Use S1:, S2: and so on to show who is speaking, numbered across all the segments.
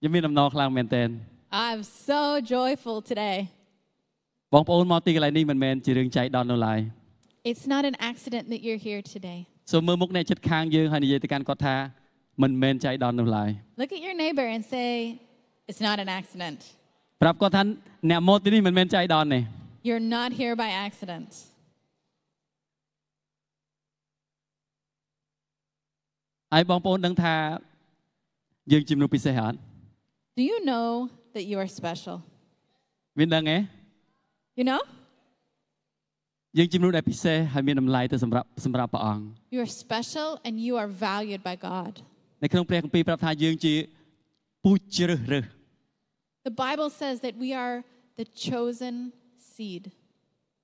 S1: ខ្ញុំមានដំណរខ្លាំងមែនទែន
S2: I'm so joyful today.
S1: បងប្អូនមកទីកន្លែងនេះមិនមែនជារឿងចៃដន្យនោះឡើយ
S2: It's not an accident that you're here today.
S1: សូមមើលមុខអ្នកជិតខាងយើងហើយនិយាយទៅកាន់គាត់ថាមិនមែនចៃដន្យនោះឡើយ
S2: Look at your neighbor and say, It's not an accident.
S1: ប្រាប់គាត់ថាអ្នកមកទីនេះមិនមែនចៃដន្យទេ
S2: You're not here by accident.
S1: ហើយបងប្អូនដឹងថាយើងជាមនុស្សពិសេសអត់
S2: Do you know that you are special?
S1: មានដឹងទេ
S2: You know?
S1: យើងជាមនុស្សដែលពិសេសហើយមានតម្លៃទៅសម្រាប់សម្រាប់ព្រះអង្គ
S2: You are special and you are valued by God.
S1: នៅក្នុងព្រះគម្ពីរប្រាប់ថាយើងជាពូជជ្រើសរើស
S2: The Bible says that we are the chosen seed,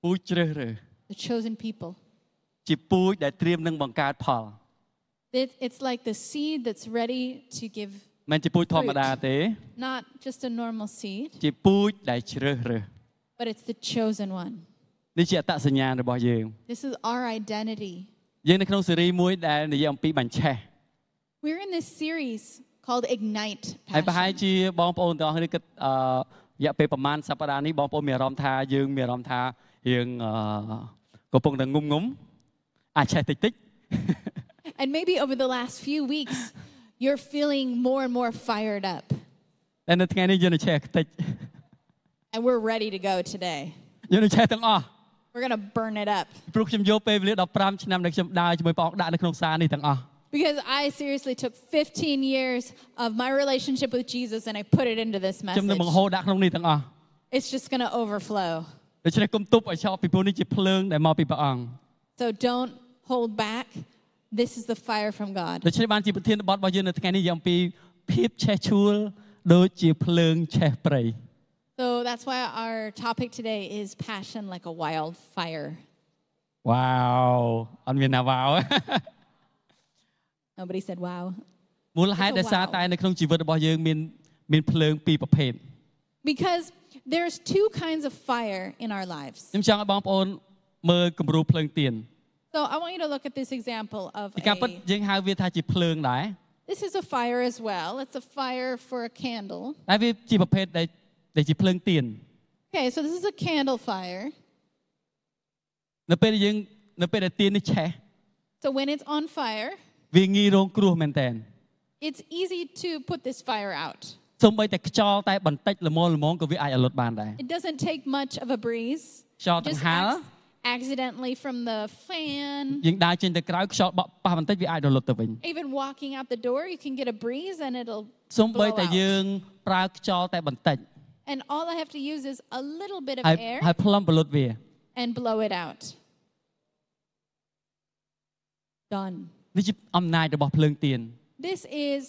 S1: ពូជជ្រើសរើស
S2: the chosen people.
S1: ជាពូជដែលត្រៀមនឹងបង្កើតផល
S2: It- It's like the seed that's ready to give,
S1: មិនជាពូជធម្មតាទេ
S2: not just a normal seed,
S1: ជាពូជដែលជ្រើសរើស
S2: but it's the chosen one.
S1: នេះជាអត្តសញ្ញាណរបស់យើង
S2: This is our identity.
S1: យើងនៅក្នុងស៊េរីមួយដែលនិយាយអំពីបញ្ឆេះ
S2: We're in this series called Ignite
S1: ហើយប្រហែល
S2: Passion.
S1: ជាបងប្អូនទាំងអស់គ្នាគិតអឺរយៈពេលប្រហែលសប្តាហ៍នេះបងប្អូនមានអារម្មណ៍ថាយើងមានអារម្មណ៍ថាយើងអឺកំពុងតែងុំងុំអាចឆេះតិចតិច
S2: And maybe over the last few weeks, you're feeling more and more fired up.
S1: តែនៅថ្ងៃនេះយើងនឹងឆេះតិច
S2: And we're ready to go today.
S1: យើងនឹងឆេះទាំងអស់
S2: We're going to burn it up.
S1: ព្រោះខ្ញុំយកពេលវេលា15ឆ្នាំដែលខ្ញុំដើរជាមួយព្រះអង្គដាក់នៅក្នុងសារនេះទាំងអស់
S2: Because I seriously took 15 years of my relationship with Jesus and I put it into this
S1: ខ្ញុំនឹងបង្ហូ
S2: message.
S1: រដាក់ក្នុងនេះទាំងអស់
S2: It's just going to overflow.
S1: ដូច្នេះគុំទប់ឲ្យឆោតពីព្រោះនេះជាភ្លើងដែលមកពីព្រះអង្គ
S2: So don't hold back. This is the fire from God.
S1: ដូច្នេះបានជាប្រធានបទរបស់យើងនៅថ្ងៃនេះយ៉ាងអំពីភាពឆេះឈួលដូចជាភ្លើងឆេះព្រៃ
S2: So that's why our topic today is passion like a wildfire.
S1: វ៉ាវអត់មានណាវ៉ាវ
S2: Nobody said wow.
S1: មូលហេតុដែលសារតែនៅក្នុងជីវិតរបស់យើងមានមានភ្លើងពីរប្រភេទ
S2: Because there's two kinds of fire in our lives.
S1: ខ្ញុំចង់ឲ្យបងប្អូនមើលគំរូភ្លើងទៀន
S2: So I want you to look at this example of
S1: ពីការពិត
S2: a,
S1: យើងហៅវាថាជាភ្លើងដែរ
S2: this is a fire as well. It's a fire for a candle.
S1: តែវាជាប្រភេទដែលដែលជាភ្លើងទៀន
S2: Okay, so this is a candle fire.
S1: នៅពេលដែលយើងនៅពេលដែលទៀននេះឆេះ
S2: So when it's on fire,
S1: វាងាយរងគ្រោះមែនតើ
S2: it's easy to put this fire out.
S1: សូម្បីតែខ្យល់តែបន្តិចល្មមល្មមក៏វាអាចឲ្យលត់បានដែរ
S2: It doesn't take much of a breeze.
S1: ខ្យល់ដ
S2: Just
S1: ង្ហើរ
S2: acc- accidentally from the fan.
S1: យើងដើរចេញទៅក្រៅខ្យល់បក់ប៉ះបន្តិចវាអាចរលត់ទៅវិញ
S2: Even walking out the door, you can get a breeze and it'll
S1: សូម
S2: blow
S1: បីតែ
S2: out.
S1: យើងប្រើខ្យល់តែបន្តិច
S2: And all I have to use is a little bit of
S1: ហើយ
S2: air
S1: ហើយផ្លំប្រលត់វា
S2: and blow it out. Done.
S1: នេះជាអំណាចរបស់ភ្លើងទៀន
S2: This is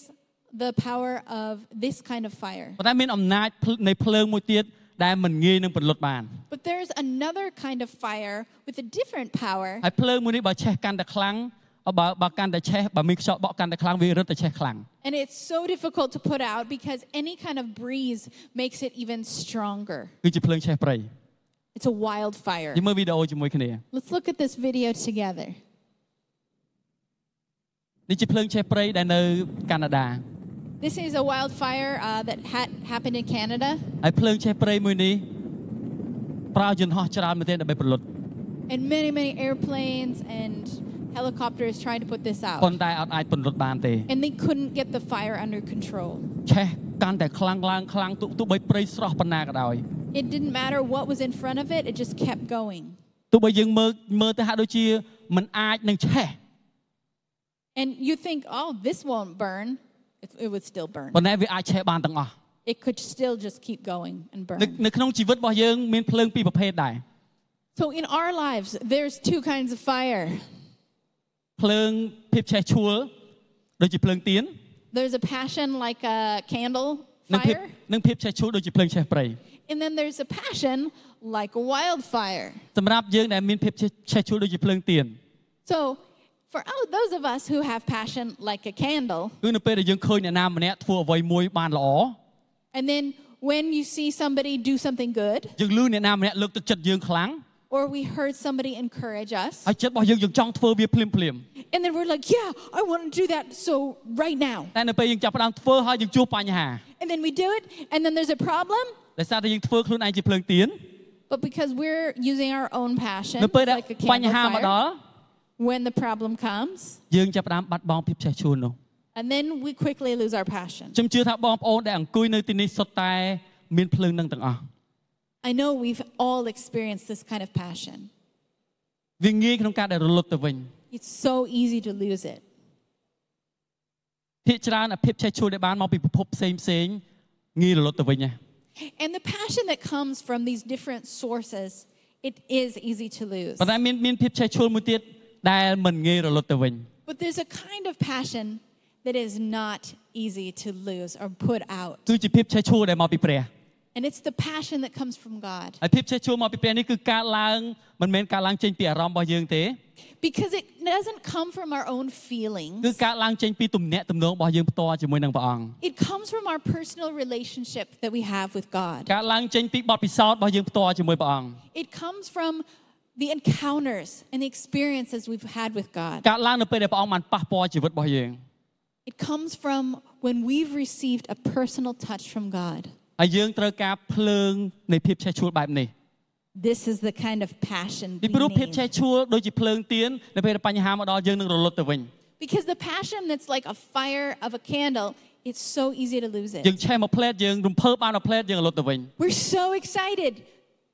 S2: the power of this kind of fire.
S1: ប៉ុន្តែមានអំណាចភ្លនៃភ្លើងមួយទៀតដែលមិនងាយនឹងប្រលត់បាន
S2: But there's another kind of fire with a different power.
S1: ហើយភ្លើងមួយនេះបើឆេះកាន់តែខ្លាំងបើបើកាន់តែឆេះបើមានខ្យល់បក់កាន់តែខ្លាំងវារត់តែឆេះខ្លាំង
S2: And it's so difficult to put out because any kind of breeze makes it even stronger.
S1: គឺជាភ្លើងឆេះព្រៃ
S2: It's a wildfire.
S1: យើងមើលវីដេអូជាមួយគ្នា
S2: Let's look at this video together.
S1: នេះជាភ្លើងឆេះព្រៃដែលនៅកាណាដា
S2: This is a wildfire uh, that ha- happened in Canada.
S1: ហើយភ្លើងឆេះព្រៃមួយនេះប្រើយន្តហោះច្រើនមែនទែនដើម្បីប្រលត់
S2: And many, many airplanes and helicopters tried to put this
S1: ប៉ុ
S2: out.
S1: ន្តែអត់អាចប្រលត់បានទេ
S2: And they couldn't get the fire under control.
S1: ឆេះកាន់តែខ្លាំងឡើងខ្លាំងទុទោះបីព្រៃស្រស់ប៉ុណ្ណាក៏ដោយ
S2: It didn't matter what was in front of it, it just kept going.
S1: ទោះបីយើងមើលមើលទៅហាក់ដូចជាมันអាចនឹងឆេះ
S2: And you think, oh, this won't burn. It, it would still burn.
S1: ប៉ុន្តែវាអាចឆេះបានទាំងអស់
S2: It could still just keep going and
S1: នៅ
S2: burn.
S1: នៅក្នុងជីវិតរបស់យើងមានភ្លើងពីរប្រភេទដែរ
S2: So in our lives, there's two kinds of fire.
S1: ភ្លើងភាពឆេះឈួលដូចជាភ្លើងទៀន
S2: There's a passion like a candle
S1: និងភាព
S2: fire,
S1: និងភាពឆេះឈួលដូចជាភ្លើងឆេះព្រៃ
S2: and then there's a passion like a wildfire.
S1: សម្រាប់យើងដែលមានភាពឆេះឆេះឈួលដូចជាភ្លើងទៀន
S2: So, for all those of us who have passion like a candle,
S1: គឺនៅពេលដែលយើងឃើញអ្នកណាម្នាក់ធ្វើអ្វីមួយបានល្អ
S2: and then when you see somebody do something good,
S1: យើងលឺអ្នកណាម្នាក់លើកទឹកចិត្តយើងខ្លាំង
S2: or or we heard somebody encourage us,
S1: ហើយចិត្តរបស់យើងយើងចង់ធ្វើវាភ្លាមភ្លាម
S2: and then we're like, yeah, I want to do that, so right now.
S1: តែនៅពេលយើងចាប់ផ្ដើមធ្វើហើយយើងជួបបញ្ហា
S2: And then we do it, and then there's a problem,
S1: ដោយសារតែយើងធ្វើខ្លួនឯងជាភ្លើងទៀន
S2: but because we're using our own passion,
S1: នៅពេល
S2: it's
S1: ដែល
S2: like a
S1: បញ្ហា
S2: candle
S1: មកដ
S2: fire,
S1: ល់
S2: when the problem comes,
S1: យើងចាប់ផ្ដើមបាត់បង់ភាពចេះជួននោះ
S2: and then we quickly lose our passion.
S1: ខ្ញុំជឿថាបងប្អូនដែលអង្គុយនៅទីនេះសុទ្ធតែមានភ្លើងនឹងទាំងអស់
S2: I know we've all experienced this kind of passion.
S1: វាងាយក្នុងការដែលរលត់ទៅវិញ
S2: It's so easy to lose it.
S1: ភាកច្រើនអាភាពចេះជួនដែលបានមកពីពិភពផ្សេងផ្សេងៗងាយរលត់ទៅវិញណា
S2: And the passion that comes from these different sources, it is easy to lose.
S1: ប៉ុន្តែមានមានភាពចេះជួលមួយទៀតដែលមិនងាយរលត់ទៅវិញ
S2: But there's a kind of passion that is not easy to lose or put out.
S1: គឺជាភាពចេះជួលដែលមកពីព្រះ
S2: And it's the passion that comes from God
S1: ហើយភាពចេះជួលមកពីព្រះនេះគឺការឡើងមិនមែនការឡើងចេញពីអារម្មណ៍របស់យើងទេ
S2: because it doesn't come from our own
S1: គឺ
S2: feelings.
S1: ការឡើងចេញពីទំនាក់ទំនងរបស់យើងផ្ទាល់ជាមួយនឹងព្រះអង្គ
S2: It comes from our personal relationship that we have with God.
S1: ការឡើងចេញពីបទពិសោធន៍របស់យើងផ្ទាល់ជាមួយព្រះអង្គ
S2: It comes from the encounters and the experiences we've had with God.
S1: ការឡើងនៅពេលដែលព្រះអង្គបានប៉ះពាល់ជីវិតរបស់យើង
S2: It comes from when we've received a personal touch from God.
S1: ហើយយើងត្រូវការភ្លើងនៃភាពចេះជួលបែបនេះ
S2: This is the kind of passion
S1: ពី
S2: we
S1: ព្រោះភាព
S2: need.
S1: ចេះជួលដូចជាភ្លើងទៀននៅពេលដែលបញ្ហាមកដល់យើងនឹងរលត់ទៅវិញ
S2: Because the passion that's like a fire of a candle, it's so easy to lose
S1: យើង
S2: it.
S1: ឆេះមួយផ្លែតយើងរំភើបបានមួយផ្លែតយើងរលត់ទៅវិញ
S2: We're so excited,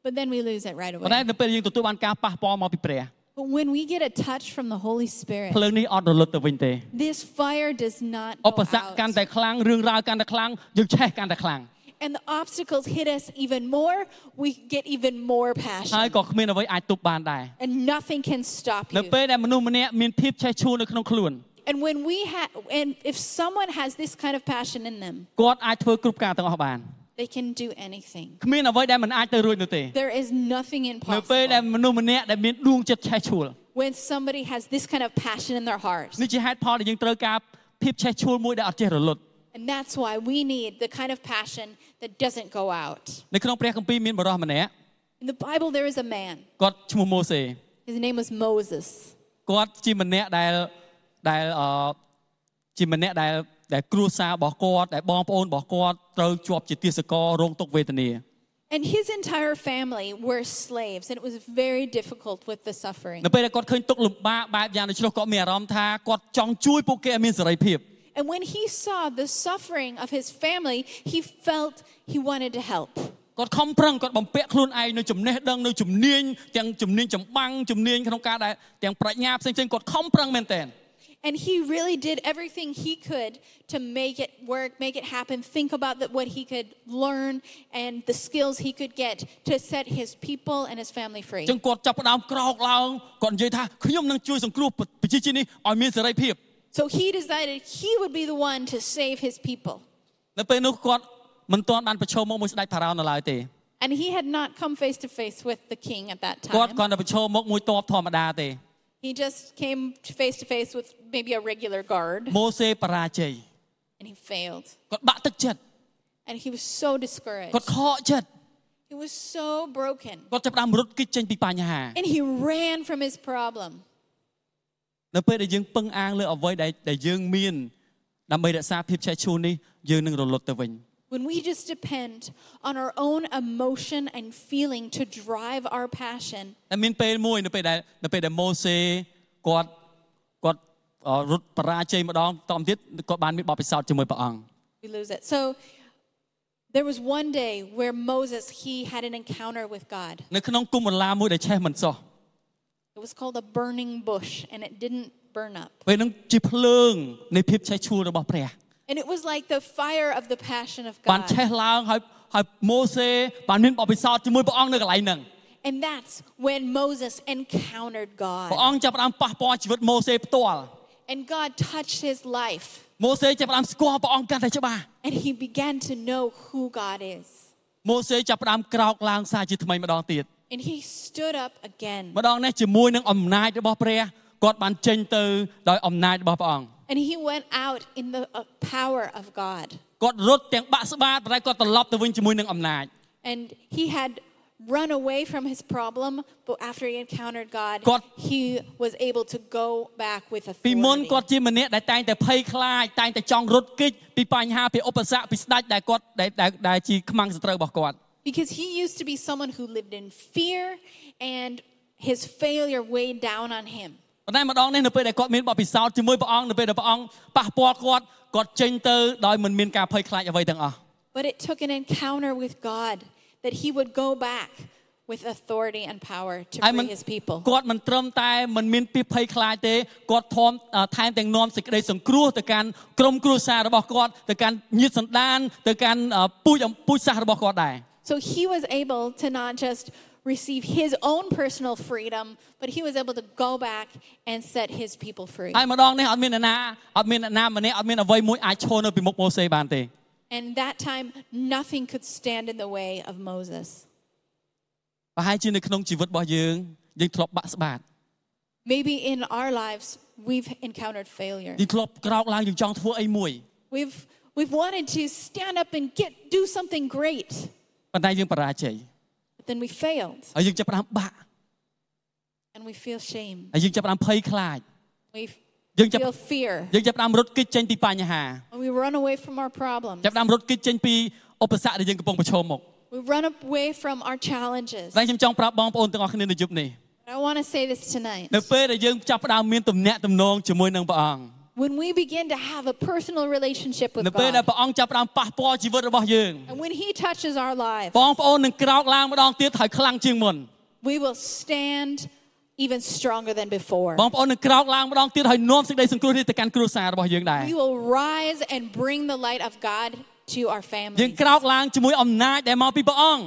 S2: but then we lose it right
S1: ប៉ុន្តែ
S2: away.
S1: នៅពេលដែលយើងទទួលបានការប៉ះពាល់មកពីព្រះ
S2: But when we get a touch from the Holy Spirit,
S1: ភ្លើងនេះអត់រលត់ទៅវិញទេ
S2: this fire does not
S1: ឧ
S2: go
S1: បសគ្គកាន់
S2: out.
S1: តែខ្លាំងរឿងរ៉ាវកាន់តែខ្លាំងយើងឆេះកាន់តែខ្លាំង
S2: And the obstacles hit us even more. We get even more
S1: ហើយ
S2: passion.
S1: ក៏គ្មានអ្វីអាចទប់បានដែរ
S2: And nothing can stop
S1: នៅ
S2: you.
S1: ពេលដែលមនុស្សម្នាក់មានភាពឆេះឈួលនៅក្នុងខ្លួន
S2: And when we have, and if someone has this kind of passion in them,
S1: គាត់អាចធ្វើគ្រប់ការទាំងអស់បាន
S2: they can do anything.
S1: គ្មានអ្វីដែលមិនអាចទៅរួចនោះទេ
S2: There is nothing
S1: នៅពេលដែល
S2: impossible
S1: មនុស្សម្នាក់ដែលមានដួងចិត្តឆេះឈួល
S2: when somebody has this kind of passion in their heart.
S1: នេះជាហេតុផលដែលយើងត្រូវការភាពឆេះឈួលមួយដែលអត់ចេះរលត់
S2: And that's why we need the kind of passion that doesn't go out.
S1: នៅក្នុងព្រះគម្ពីរមានបរិសម្នាក់
S2: In the Bible, there is a man.
S1: គាត់ឈ្មោះម៉ូសេ
S2: His name was Moses.
S1: គាត់ជាម្នាក់ដែលដែលអឺជាម្នាក់ដែលដែលគ្រួសាររបស់គាត់ដែលបងប្អូនរបស់គាត់ត្រូវជាប់ជាទាសកររងទុក្ខវេទនា
S2: And his entire family were slaves, and it was very difficult with the suffering.
S1: នៅពេលដែលគាត់ឃើញទុក្ខលំបាកបែបយ៉ាងដូច្នោះគាត់មានអារម្មណ៍ថាគាត់ចង់ជួយពួកគេឲ្យមានសេរីភាព
S2: And when he saw the suffering of his family, he felt he wanted to help.
S1: គាត់ខំប្រឹងគាត់បំពាក់ខ្លួនឯងនៅចំណេះដឹងនៅជំនាញទាំងជំនាញចម្បាំងជំនាញក្នុងការដែលទាំងប្រាជ្ញាផ្សេងៗគាត់ខំប្រឹងមែនទែន
S2: And he really did everything he could to make it work, make it happen, think about the, what he could learn and the skills he could get to set his people and his family free.
S1: ចឹងគាត់ចាប់ផ្ដើមក្រោកឡើងគាត់និយាយថាខ្ញុំនឹងជួយសង្គ្រោះប្រជាជាតិនេះឲ្យមានសេរីភាព
S2: So he decided he would be the one to save his people.
S1: នៅពេលនោះគាត់មិនទាន់បានប្រឈមមុខមួយស្ដេចផារ៉ោននៅឡើយទេ
S2: And he had not come face to face with the king at that
S1: គាត់
S2: time.
S1: គ្រាន់តែប្រឈមមុខមួយតបធម្មតាទេ
S2: He just came face to face with maybe a regular guard
S1: ម៉ូសេបរាជ័យ
S2: and he failed.
S1: គាត់បាក់ទឹកចិត្ត
S2: And he was so
S1: គា
S2: discouraged.
S1: ត់ខកចិត្ត
S2: He was so broken.
S1: គាត់ចាប់ផ្ដើមរត់គេចចេញពីបញ្ហា
S2: And he ran from his problem.
S1: នៅពេលដែលយើងពឹងអាងលើអ្វីដែលដែលយើងមានដើម្បីរក្សាភាពឆេះឈួលនេះយើងនឹងរលត់ទៅវិញ
S2: When we just depend on our own emotion and feeling to drive our passion,
S1: តែមានពេលមួយនៅពេលដែលនៅពេលដែលម៉ូសេគាត់គាត់អឺរត់បរាជ័យម្ដងតមកទៀតគាត់បានមានបទពិសោធន៍ជាមួយព្រះអង្គ
S2: we lose it. So there was one day where Moses, he had an encounter with God.
S1: នៅក្នុងគុំបន្លាមួយដែលឆេះមិនសោះ
S2: It was called a burning bush, and it didn't burn up.
S1: ពេលហ្នឹងជាភ្លើងនៃភាពឆេះឈួលរបស់ព្រះ
S2: And it was like the fire of the passion of
S1: បាន
S2: God.
S1: ឆេះឡើងហើយហើយម៉ូសេបានមានបទពិសោធន៍ជាមួយព្រះអង្គនៅកន្លែងហ្នឹង
S2: And that's when Moses encountered
S1: ព្រះ
S2: God.
S1: អង្គចាប់ផ្ដើមប៉ះពាល់ជីវិតម៉ូសេផ្ទាល់
S2: And God touched his life,
S1: ម៉ូសេចាប់ផ្ដើមស្គាល់ព្រះអង្គកាន់តែច្បាស់
S2: and he began to know who God is.
S1: ម៉ូសេចាប់ផ្ដើមក្រោកឡើងសារជាថ្មីម្ដងទៀត
S2: And he stood up again.
S1: ម្ដងនេះជាមួយនឹងអំណាចរបស់ព្រះគាត់បានចេញទៅដោយអំណាចរបស់ព្រះអង្គ
S2: And he went out in the uh, power of God.
S1: គាត់រត់ទាំងបាក់ស្បាតប៉ុន្តែគាត់ត្រឡប់ទៅវិញជាមួយនឹងអំណាច
S2: And he had run away from his problem, but after he encountered God,
S1: គាត់
S2: he was able to go back with
S1: ពីមុន
S2: authority.
S1: គាត់ជាម្នាក់ដែលតែងតែភ័យខ្លាចតែងតែចង់រត់គេចពីបញ្ហាពីឧបសគ្គពីស្ដេចដែលគាត់ដែលដែលដែលជាខ្មាំងសត្រូវរបស់គាត់
S2: Because he used to be someone who lived in fear and his failure weighed down on him.
S1: ប៉ុន្តែម្ដងនេះនៅពេលដែលគាត់មានបទពិសោធន៍ជាមួយព្រះអង្គនៅពេលដែលព្រះអង្គប៉ះពាល់គាត់គាត់ចេញទៅដោយមិនមានការភ័យខ្លាចអ្វីទាំងអស់
S2: But it took an encounter with God that he would go back with authority and power to
S1: ហើយ
S2: free
S1: មិន
S2: his people.
S1: គាត់មិនត្រឹមតែមិនមានពីភ័យខ្លាចទេគាត់ធំថែមទាំងនាំសេចក្តីសង្គ្រោះទៅកាន់ក្រុមគ្រួសាររបស់គាត់ទៅកាន់ញាតិសន្តានទៅកាន់អឺពូជអំពូជសាសន៍របស់គាត់ដែរ
S2: So he was able to not just receive his own personal freedom, but he was able to go back and set his people free.
S1: ហើយម្ដងនេះអត់មានអ្នកណាអត់មានអ្នកណាម្នាក់អត់មានអ្វីមួយអាចឈរនៅពីមុខម៉ូសេបានទេ
S2: And that time, nothing could stand in the way of Moses.
S1: ប្រហែលជានៅក្នុងជីវិតរបស់យើងយើងធ្លាប់បាក់ស្បាត
S2: Maybe in our lives, we've encountered failure.
S1: យើងធ្លាប់ក្រោកឡើងយើងចង់ធ្វើអីមួយ
S2: We've, we've wanted to stand up and get, do something great,
S1: ប៉ុន្តែយើងបរាជ័យ
S2: but then we failed
S1: ហើយយើងចាប់ផ្ដើមបាក់
S2: and we feel shame.
S1: ហើយយើងចាប់ផ្ដើមភ័យខ្លាច
S2: We
S1: Dân chấp-
S2: feel fear.
S1: យើងចាប់ផ្ដើមរត់គេចចេញពីបញ្ហា
S2: And we run away from our problems.
S1: ចាប់ផ្ដើមរត់គេចចេញពីឧបសគ្គដែលយើងកំពុងប្រឈមមុខ
S2: We run away from our challenges.
S1: តែខ្ញុំចង់ប្រាប់បងប្អូនទាំងអស់គ្នានៅយប់នេះ
S2: But I want to say this tonight.
S1: នៅពេលដែលយើងចាប់ផ្ដើមមានទំនាក់ទំនងជាមួយនឹងព្រះអង្គ
S2: When we begin to have a personal relationship
S1: នៅ
S2: with
S1: ពេលដែល
S2: God,
S1: ព្រះអង្គចាប់ផ្ដើមប៉ះពាល់ជីវិតរបស់យើង
S2: and when He touches our lives,
S1: បងប្អូននឹងក្រោកឡើងម្ដងទៀតហើយខ្លាំងជាងមុន
S2: we will stand even stronger than before.
S1: បងប្អូននឹងក្រោកឡើងម្ដងទៀតហើយនាំសេចក្តីសង្គ្រោះនេះទៅកាន់គ្រួសាររបស់យើងដែរ
S2: We will rise and bring the light of God to our
S1: យើង
S2: families.
S1: ក្រោកឡើងជាមួយអំណាចដែលមកពីព្រះអង្គ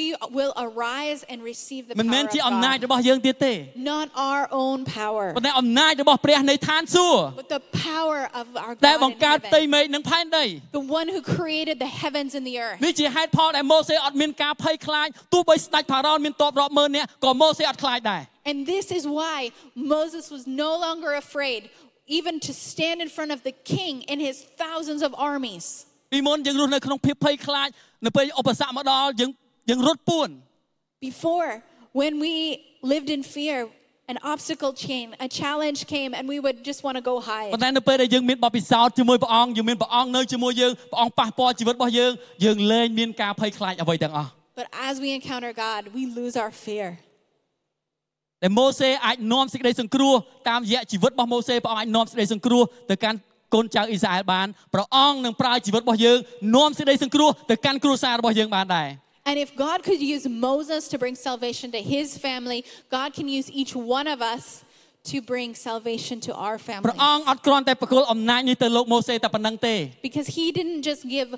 S2: We will arise and receive the
S1: មិនមែន
S2: power
S1: ជាអំ
S2: of
S1: ណាច
S2: God.
S1: របស់យើងទៀតទេ
S2: Not our own power,
S1: ប៉ុន្តែអំណាចរបស់ព្រះនៃឋានសួគ៌
S2: but the power of our
S1: ដែល
S2: God
S1: ប
S2: in
S1: ង្កើត
S2: heaven.
S1: ផ្ទៃមេឃនិងផែនដី
S2: the one who created the heavens and the earth.
S1: នេះជាហេតុផលដែលម៉ូសេអត់មានការភ័យខ្លាចទោះបីស្ដេចផារ៉ោនមានតបរាប់ម៉ឺននាក់ក៏ម៉ូសេអត់ខ្លាចដែរ
S2: And this is why Moses was no longer afraid even to stand in front of the king and his thousands of armies.
S1: ពីមុនយើងរស់នៅក្នុងភាពភ័យខ្លាចនៅពេលឧបសគ្គមកដល់យើងយើងរត់ពួន
S2: Before, when we lived in fear, an obstacle came, a challenge came, and we would just want to go
S1: ប៉ុន្
S2: hide.
S1: តែនៅពេលដែលយើងមានបទពិសោធន៍ជាមួយព្រះអង្គយើងមានព្រះអង្គនៅជាមួយយើងព្រះអង្គប៉ះពាល់ជីវិតរបស់យើងយើងលែងមានការភ័យខ្លាចអ្វីទាំងអស់
S2: But as we encounter God, we lose our fear.
S1: ដែលម៉ូសេអាចនាំសេចក្តីសង្គ្រោះតាមរយៈជីវិតរបស់ម៉ូសេព្រះអង្គអាចនាំសេចក្តីសង្គ្រោះទៅកាន់កូនចៅអ៊ីស្រាអែលបានព្រះអង្គនឹងប្រើជីវិតរបស់យើងនាំសេចក្តីសង្គ្រោះទៅកាន់គ្រួសាររបស់យើងបានដែរ
S2: And if God could use Moses to bring salvation to his family, God can use each one of us to bring salvation to our
S1: ព្រះ
S2: family.
S1: អង្គអត់គ្រាន់តែប្រគល់អំណាចនេះទៅលោកម៉ូសេតែប៉ុណ្ណឹងទេ
S2: Because he didn't just give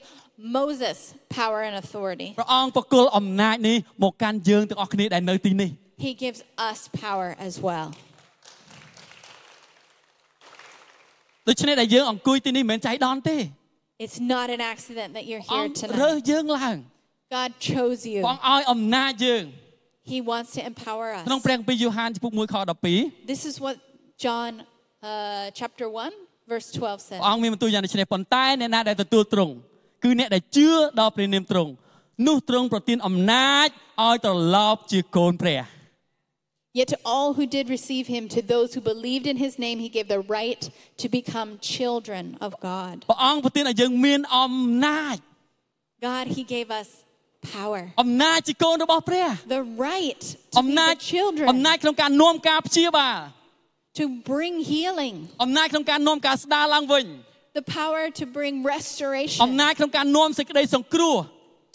S2: Moses power and authority,
S1: ព្រះអង្គប្រគល់អំណាចនេះមកកាន់យើងទាំងអស់គ្នាដែលនៅទីនេះ
S2: he gives us power as well.
S1: ដូច្នេះដែលយើងអង្គុយទីនេះមិនមែនចៃដន្យទេ
S2: It's not an accident that you're
S1: ព្រះអ
S2: here
S1: ង្គរើស
S2: tonight.
S1: យើងឡើង
S2: God chose
S1: ព្រះអ
S2: you,
S1: ង្គឲ្យអំណាចយើង
S2: He wants to empower us.
S1: ក្នុងព្រះគម្ពីរយ៉ូហានជំពូក1ខ12
S2: This is what John uh, chapter 1, verse 12 says.
S1: ព្រះអង្គមានបន្ទូលយ៉ាងដូចនេះប៉ុន្តែអ្នកណាដែលទទួលទ្រង់គឺអ្នកដែលជឿដល់ព្រះនាមទ្រង់នោះទ្រង់ប្រទានអំណាចឲ្យត្រឡប់ជាកូនព្រះ
S2: Yet to all who did receive Him, to those who believed in His name, He gave the right to become children of God.
S1: ព្រះអង្គប្រទានឲ្យយើងមានអំណាច
S2: God, He gave us power,
S1: អំណាចជាកូនរបស់ព្រះ
S2: the right to
S1: អំ
S2: be
S1: ណាច
S2: the
S1: អំ
S2: children,
S1: ណាចក្នុងការនាំការព្យាបាល
S2: to bring healing.
S1: អំណាចក្នុងការនាំការស្ដារឡើងវិញ
S2: the power to bring
S1: អំ
S2: restoration,
S1: ណាចក្នុងការនាំសេចក្តីសង្គ្រោះ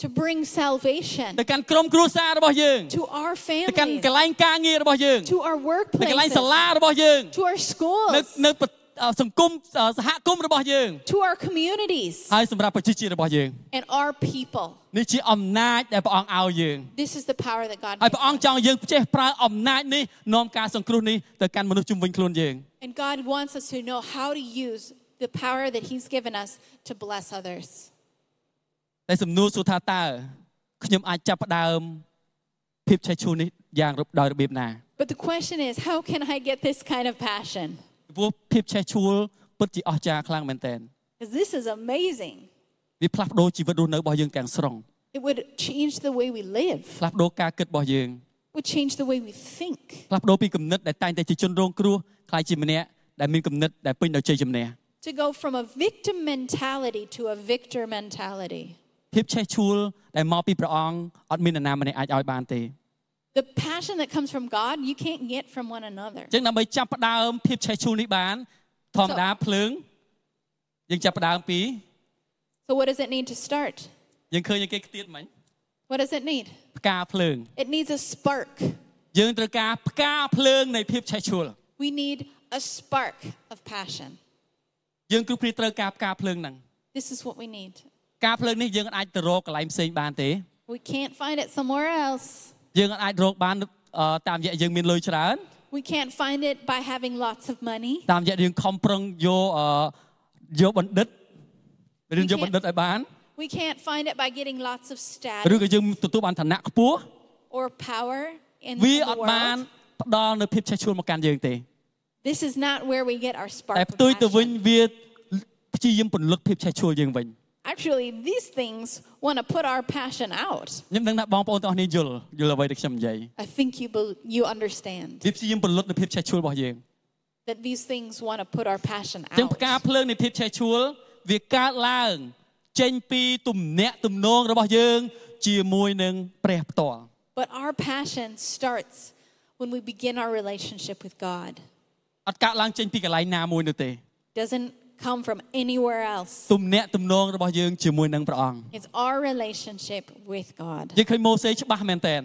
S2: to bring salvation
S1: ទៅកាន់ក្រុមគ្រួសាររបស់យើង
S2: to our
S1: ទៅកាន់
S2: families,
S1: កន្លែងការងាររបស់យើង
S2: to our
S1: ទៅកន្លែងសា
S2: workplaces,
S1: លារបស់យើង
S2: to our
S1: នៅ
S2: schools,
S1: នៅប្រសង្គមសហគមន៍របស់យើង
S2: to our communities,
S1: ហើយសម្រាប់ប្រជាជាតិរបស់យើង
S2: and our people.
S1: នេះជាអំណាចដែលព្រះអង្គឲ្យយើង
S2: This is the power that God
S1: ហើយ
S2: gives.
S1: ព្រះអង្គចង់យើងចេះប្រើអំណាចនេះនាំការសង្គ្រោះនេះទៅកាន់មនុស្សជុំវិញខ្លួនយើង
S2: And God wants us to know how to use the power that He's given us to bless others.
S1: តែសំណួរសួរថាតើខ្ញុំអាចចាប់ផ្ដើមភាពឆេះឈូសនេះយ៉ាងរបដោយរបៀបណា
S2: But the question is, how can I get this kind of passion?
S1: ពីព្រោះភាពឆេះឈួលពិតជាអស្ចារ្យខ្លាំងមែនទែន
S2: Because this is amazing.
S1: វាផ្លាស់ប្ដូរជីវិតរស់នៅរបស់យើងទាំងស្រុង
S2: It would change the way we live,
S1: ផ្លាស់ប្ដូរការគិតរបស់យើង
S2: would change the way we think,
S1: ផ្លាស់ប្ដូរពីគំនិតដែលតែងតែជាជនរងគ្រោះខ្លាយជាម្នាក់ដែលមានគំនិតដែលពេញដោយជ័យជំនះ
S2: to go from a victim mentality to a victor mentality.
S1: ភាពឆេះឈួលដែលមកពីព្រះអង្គអត់មាននរណាម្នាក់អាចឲ្យបានទេ
S2: The passion that comes from God, you can't get from one another.
S1: ចឹងដើម្បីចាប់ផ្ដើមភាពឆេះឈួលនេះបានធម្មតាភ្លើងយើងចាប់ផ្ដើមពី
S2: So, what does it need to start?
S1: យើងឃើញគេខ្ទាតមិញ
S2: What does it need?
S1: ផ្កាភ្លើង
S2: It needs a spark.
S1: យើងត្រូវការផ្កាភ្លើងនៃភាពឆេះឈួល
S2: We need a spark of passion.
S1: យើងគ្រប់គ្នាត្រូវការផ្កាភ្លើងហ្នឹង
S2: This is what we need.
S1: ផ្កាភ្លើងនេះយើងអាចទៅរកកន្លែងផ្សេងបានទេ
S2: We can't find it somewhere else.
S1: យើងអាចរកបានអឺតាមរយៈយើងមានលុយច្រើន
S2: We can't find it by having lots of money.
S1: តាមរយៈយើងខំប្រឹងយកអឺយកបណ្ឌិតឬយកបណ្ឌិតឲ្យបាន
S2: We can't find it by getting lots of
S1: ឬ
S2: status
S1: ក៏យើងទទួលបានឋានៈខ្ពស់
S2: or power in
S1: វា
S2: the
S1: អត់បាន
S2: world.
S1: ផ្ដល់នូវភាពឆេះឈួលមកកាន់យើងទេ
S2: This is not where we get our
S1: តែ
S2: spark. of
S1: ផ្ទុយទៅវិញ
S2: passion.
S1: វាព្យាយាមពន្លត់ភាពឆេះឈួលយើងវិញ
S2: Actually, these things want to put our passion out.
S1: ខ្ញុំដឹងថាបងប្អូនទាំងអស់គ្នាយល់យល់អ្វីដែលខ្ញុំនិយាយ
S2: I think you bel you understand
S1: វាព្យាយាមពន្លត់នូវភាពឆេះឈួលរបស់យើង
S2: that these things want to put our passion
S1: ចឹងផ្កា
S2: out.
S1: ភ្លើងនៃភាពឆេះឈួលវាកើតឡើង ចេញពីទំនាក់ទំនងរបស់យើង ជាមួយនឹងព្រះផ្ទាល់
S2: But our passion starts when we begin our relationship with God.
S1: អត់កើតឡើងចេញពីកន្លែងណាមួយនោះទេ
S2: Doesn't come from anywhere else.
S1: ទំនាក់ទំនងរបស់យើងជាមួយនឹងព្រះអង្គ
S2: It's our relationship with God.
S1: យើងឃើញម៉ូសេច្បាស់មែនតើ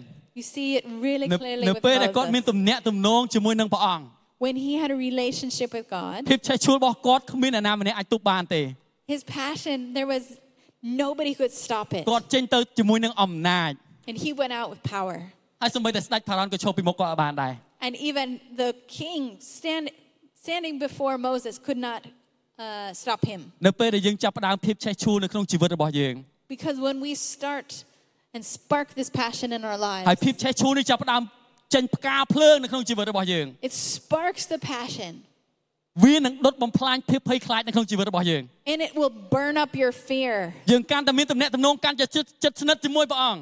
S2: You see it really
S1: នៅ
S2: clearly
S1: នៅ
S2: with
S1: ពេលដែលគាត់មាន
S2: Moses.
S1: ទំនាក់ទំនងជាមួយនឹងព្រះអង្គ
S2: When he had a relationship with God,
S1: ភាពឆេះឈួលរបស់គាត់គ្មានអ្នកណាម្នាក់អាចទប់បានទេ
S2: his passion, there was nobody could stop it.
S1: គាត់ចេញទៅជាមួយនឹងអំណាច
S2: And he went out with power.
S1: ហើយសូម្បីតែស្ដេចផារ៉ុនក៏ឈប់ពីមុខគាត់អត់បានដែរ
S2: And even the king stand, standing before Moses could not uh, stop him.
S1: នៅពេលដែលយើងចាប់ផ្ដើមភាពឆេះឈួលនៅក្នុងជីវិតរបស់យើង
S2: Because when we start and spark this passion in our
S1: ហើយ
S2: lives,
S1: ភាពឆេះឈួលនេះចាប់ផ្ដើមចេញផ្កាភ្លើងនៅក្នុងជីវិតរបស់យើង
S2: it sparks the passion
S1: វានឹងដុតបំផ្លាញភាពភ័យខ្លាចនៅក្នុងជីវិតរបស់យើង
S2: and it will burn up your fear.
S1: យើងកាន់តែមានទំនាក់ទំនងកាន់តែជិតជិតស្និទ្ធជាមួយព្រះអង្គ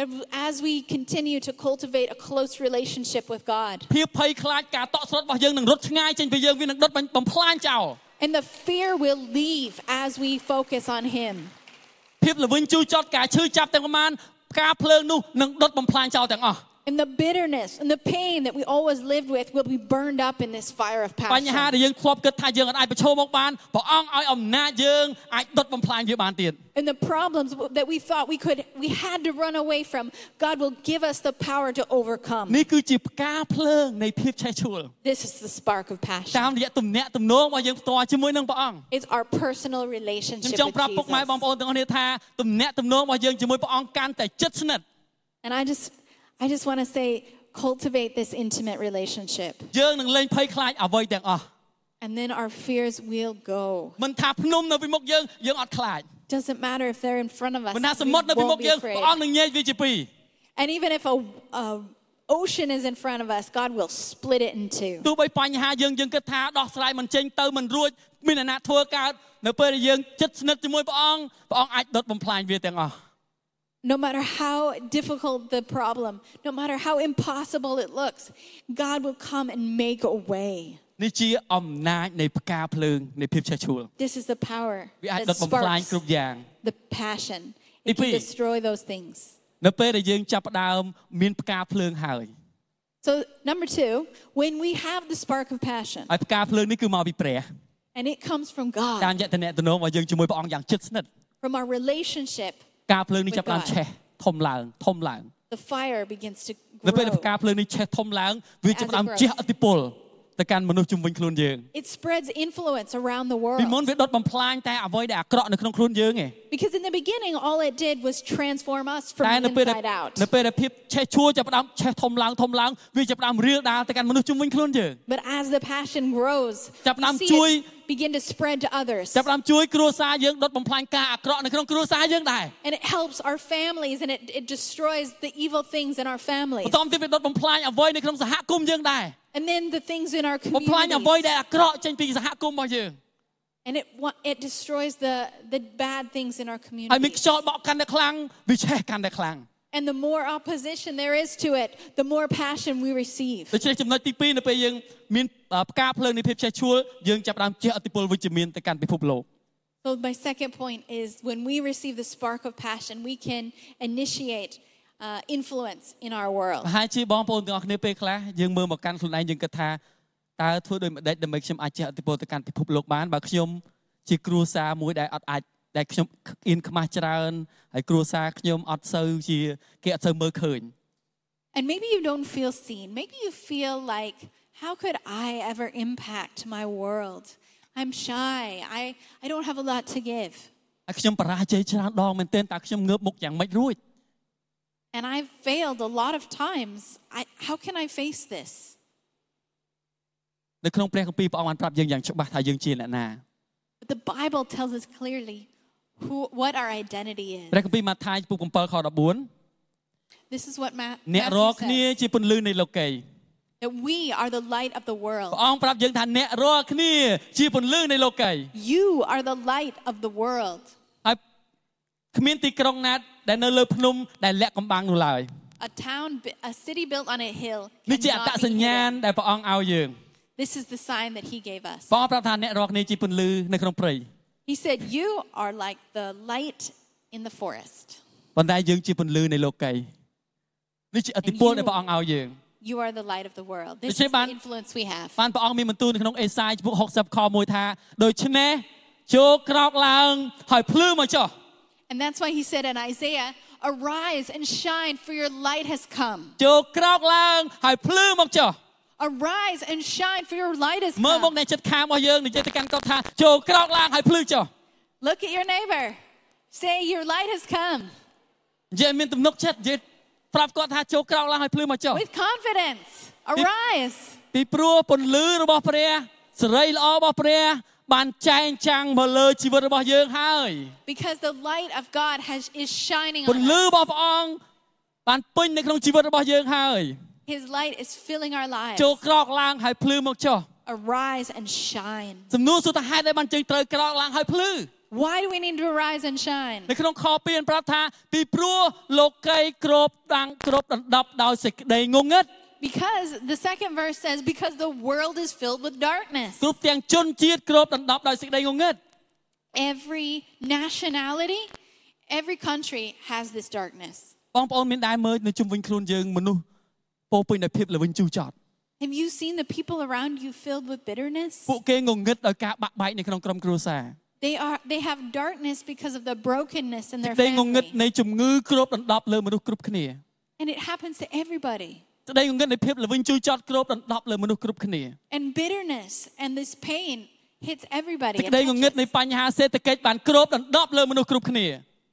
S2: That as we continue to cultivate a close relationship with God,
S1: ភាពភ័យខ្លាចការតក់ស្លុតរបស់យើងនឹងរត់ឆ្ងាយចេញពីយើងវានឹងដុតបំផ្លាញចោល
S2: and the fear will leave as we focus on Him.
S1: ភាពល្វីងជូរចត់ការឈឺចាប់ទាំងប៉ុន្មានផ្កាភ្លើងនោះនឹងដុតបំផ្លាញចោលទាំងអស់
S2: And the bitterness and the pain that we always lived with will be burned up in this fire of
S1: បញ្ហា
S2: passion.
S1: ដែលយើងធ្លាប់គិតថាយើងអាចប្រឈមមកបានព្រះអង្គឲ្យអំណាចយើងអាចដុតបំផ្លាញវាបានទៀត
S2: And the problems w- that we thought we could, we had to run away from, God will give us the power to overcome.
S1: នេះគឺជាផ្កាភ្លើងនៃភាពឆេះឈួល
S2: This is the spark of passion.
S1: តាមរយៈទំនាក់ទំនងរបស់យើងផ្ទាល់ជាមួយនឹងព្រះអង្គ
S2: It's our personal
S1: ខ្ញុំ
S2: relationship
S1: ចង់ប្រាប់ពុកម៉ែបង
S2: with
S1: ប្អូ
S2: Jesus.
S1: នទាំងអស់គ្នាថាទំនាក់ទំនងរបស់យើងជាមួយព្រះអង្គកាន់តែជិតស្និទ្ធ
S2: And I just, I just want to say, cultivate this intimate relationship,
S1: យើងនឹងលែងភ័យខ្លាចអ្វីទាំងអស់
S2: and then our fears will go.
S1: មិនថាភ្នំនៅពីមុខយើងយើងអត់ខ្លាច
S2: Doesn't matter if they're in front of us.
S1: មិនថាស
S2: we
S1: មុទ្រនៅពីមុខ
S2: won't be
S1: យើងព្រះអង្គ
S2: afraid.
S1: នឹងញែកវាជាពីរ
S2: And even if a, a ocean is in front of us, God will split it in two.
S1: ទោះបីបញ្ហាយើងយើងគិតថាដោះស្រាយមិនចេញទៅមិនរួចមានអ្នកណាធ្វើកើតនៅពេលដែលយើងជិតស្និទ្ធជាមួយព្រះអង្គព្រះអង្គអាចដុតបំផ្លាញវាទាំងអស់
S2: No matter how difficult the problem, no matter how impossible it looks, God will come and make a way.
S1: នេះជាអំណាចនៃផ្កាភ្លើងនៃភាពឆេះឈួល
S2: This is the power
S1: វាអាចដុ
S2: that
S1: តបំផ្លាញ
S2: sparks
S1: គ្រប់យ៉ាង
S2: the passion.
S1: Ni
S2: It can
S1: pi.
S2: destroy those things.
S1: នៅពេលដែលយើងចាប់ផ្ដើមមានផ្កាភ្លើងហើយ
S2: So, number two, when we have the spark of passion,
S1: ហើយផ្កាភ្លើងនេះគឺមកពីព្រះ
S2: and it comes from
S1: តាម
S2: God,
S1: យតនៈតំណងរបស់យើងជាមួយព្រះអង្គយ៉ាងជិតស្និទ្ធ
S2: from our relationship,
S1: ផ្កាភ្លើងនេះចាប់ផ្ដើម
S2: With God.
S1: ឆេះធំឡើងធំឡើង
S2: the fire begins to
S1: នៅពេលដែលផ្កា
S2: grow.
S1: ភ្លើងនេះឆេះធំឡើងវាចាប់ផ្ដើម
S2: grows.
S1: ជះឥទ្ធិពលទៅកាន់មនុស្សជុំវិញខ្លួនយើង
S2: It spreads influence around the
S1: ពីមុន
S2: world.
S1: វាដុតបំផ្លាញតែអ្វីដែលអាក្រក់នៅក្នុងខ្លួនយើងឯង
S2: Because in the beginning, all it did was transform us
S1: តែ
S2: from
S1: នៅពេលដែល
S2: inside out.
S1: នៅពេលដែលភាពឆេះឈួលចាប់ផ្ដើមឆេះធំឡើងធំឡើងវាចាប់ផ្ដើមរៀលដាលទៅកាន់មនុស្សជុំវិញខ្លួនយើង
S2: But as the passion grows,
S1: ចាប់ផ្ដើម
S2: you see
S1: ជួយ
S2: it begin to spread to others.
S1: ចាប់ផ្ដើមជួយគ្រួសារយើងដុតបំផ្លាញការអាក្រក់នៅក្នុងគ្រួសារយើងដែរ
S2: And it helps our families and it, it destroys the evil things in our
S1: ប
S2: families.
S1: ន្តទៀតវាដុតបំផ្លាញអ្វីនៅក្នុងសហគមន៍យើងដែរ
S2: And then the things in our
S1: បំផ្លាញអ្វី
S2: community.
S1: ដែលអាក្រក់ចេញពីសហគមន៍របស់យើង
S2: And it wa- it destroys the the bad things in our
S1: ហើយមាន
S2: community.
S1: ខ្យល់បក់កាន់តែខ្លាំងវាឆេះកាន់តែខ្លាំង
S2: And the more opposition there is to it, the more passion we receive.
S1: ដូច្នេះចំណុចទី2នៅពេលយើងមានអ่าផ្កាភ្លើងនៃភាពឆេះឆួលយើងចាប់ផ្ដើមជះឥទ្ធិពលវិជ្ជមានទៅកាន់ពិភពលោក
S2: So my second point is when we receive the spark of passion, we can initiate uh, influence in our
S1: ប្រ
S2: world.
S1: ហែលជាបងប្អូនទាំងអស់គ្នាពេលខ្លះយើងមើលមកកាន់ខ្លួនឯងយើងគិតថាតើធ្វើដោយម្ដេចដើម្បីខ្ញុំអាចជះឥទ្ធិពលទៅកាន់ពិភពលោកបានបើខ្ញុំជាគ្រួសារមួយដែលអត់អាចដែលខ្ញុំអៀនខ្មាស់ច្រើនហើយគ្រួសារខ្ញុំអត់សូវជាគេអត់សូវមើលឃើញ
S2: And maybe you don't feel seen. Maybe you feel like, how could I ever impact my world? I'm shy. I, I don't have a lot to give.
S1: ហើយខ្ញុំបរាជ័យច្រើនដងមែនទែនតើខ្ញុំងើបមុខយ៉ាងម៉េចរួច
S2: And I've failed a lot of times. I, how can I face this?
S1: នៅក្នុងព្រះគម្ពីរព្រះអង្គបានប្រាប់យើងយ៉ាងច្បាស់ថាយើងជាអ្នកណា
S2: But the Bible tells us clearly who, what our identity is.
S1: ព្រះគម្ពីរម៉ាថាយចំពុក7ខ14
S2: This is what Matt
S1: អ្នករាល់គ្នា
S2: says,
S1: ជាពន្លឺនៃលោកី
S2: that we are the light of the
S1: ព្រះ
S2: world.
S1: អង្គប្រាប់យើងថាអ្នករាល់គ្នាជាពន្លឺនៃលោកី
S2: You are the light of the world.
S1: ហើយគ្មានទីក្រុងណាដែលនៅលើភ្នំដែលលាក់កំបាំងនោះឡើយ
S2: A town, bu- a city built on a hill.
S1: នេះជាអត្ត
S2: cannot
S1: ស
S2: be
S1: ញ្ញាណ
S2: hidden.
S1: ដែលព្រះអង្គឲ្យយើង
S2: This is the sign that he gave us.
S1: ព្រះអង្គប្រាប់ថាអ្នករាល់គ្នាជាពន្លឺនៅក្នុងព្រៃ
S2: He said, You are like the light in the forest.
S1: ប៉ុន្តែយើងជាពន្លឺនៃលោកីនេះជាអតិពល
S2: And you-
S1: ដែលព្រះអង្គឲ្យយើង
S2: You are the light of the world. This
S1: Did you
S2: is the
S1: ban-
S2: influence we have.
S1: បានព្រះអង្គមានបន្ទូលនៅក្នុងអេសាយចំពុក60ខ1ថាដូច្នេះចូលក្រោកឡើងហើយភ្លឺមកចុះ
S2: And that's why he said in Isaiah, Arise and shine, for your light has come.
S1: ចូលក្រោកឡើងហើយភ្លឺមកចុះ
S2: Arise and shine, for your light has
S1: មើលមក
S2: come.
S1: អ្នកចិត្តខាងរបស់យើងនិយាយទៅកាន់គាត់ថាចូលក្រោកឡើងហើយភ្លឺចុះ
S2: Look at your neighbor. Say, Your light has come
S1: និយាយឲ្យមានទំនុកចិត្តនិយាយប្រាប់គាត់ថាចូលក្រោកឡើងហើយភ្លឺមកចុះ
S2: with confidence. Arise.
S1: ពីព្រោះពន្លឺរបស់ព្រះសេរីល្អរបស់ព្រះ បានចែងចាំងមកលើជីវិតរបស់យើងហើយ
S2: Because the light of God has, is shining
S1: ព
S2: on
S1: ន្លឺ
S2: us.
S1: របស់ព្រះអង្គបានពេញនៅក្នុងជីវិតរបស់យើងហើយ
S2: His light is filling our lives.
S1: ចូលក្រោកឡើងហើយភ្លឺមកចុះ
S2: Arise and shine.
S1: សំណួរសួរថាហេតុអីបានយើងត្រូវក្រោកឡើងហើយភ្លឺ
S2: Why do we need to arise and shine?
S1: នៅក្នុងខ2ប្រាប់ថាពីព្រោះលោកីគ្របដាំងគ្របដណ្ដប់ដោយសេចក្តីងងឹត
S2: Because the second verse says, because the world is filled with darkness.
S1: គ្រប់ទាំងជនជាតិគ្របដណ្ដប់ដោយសេចក្តីងងឹត
S2: Every nationality, every country has this darkness.
S1: បងប្អូនមានដែរមើលនៅជុំវិញខ្លួនយើងមនុស្សពោរពេញដោយភាពល្វីងជូរចត់
S2: Have you seen the people around you filled with bitterness?
S1: ពួកគេងងឹតដោយការបាក់បែកនៅក្នុងក្រុមគ្រួសារ
S2: They are they have darkness because of the brokenness in their
S1: ក្តីងងឹត
S2: family.
S1: នៃជំងឺគ្របដណ្ដប់លើមនុស្សគ្រប់គ្នា
S2: And it happens to everybody.
S1: ក្តីងងឹតនៃភាពល្វីងជូរចត់គ្របដណ្ដប់លើមនុស្សគ្រប់គ្នា
S2: And bitterness and this pain hits everybody.
S1: សេច
S2: It
S1: ក្តីងងឹត
S2: touches.
S1: នៃបញ្ហាសេដ្ឋកិច្ចបានគ្របដណ្ដប់លើមនុស្សគ្រប់គ្នា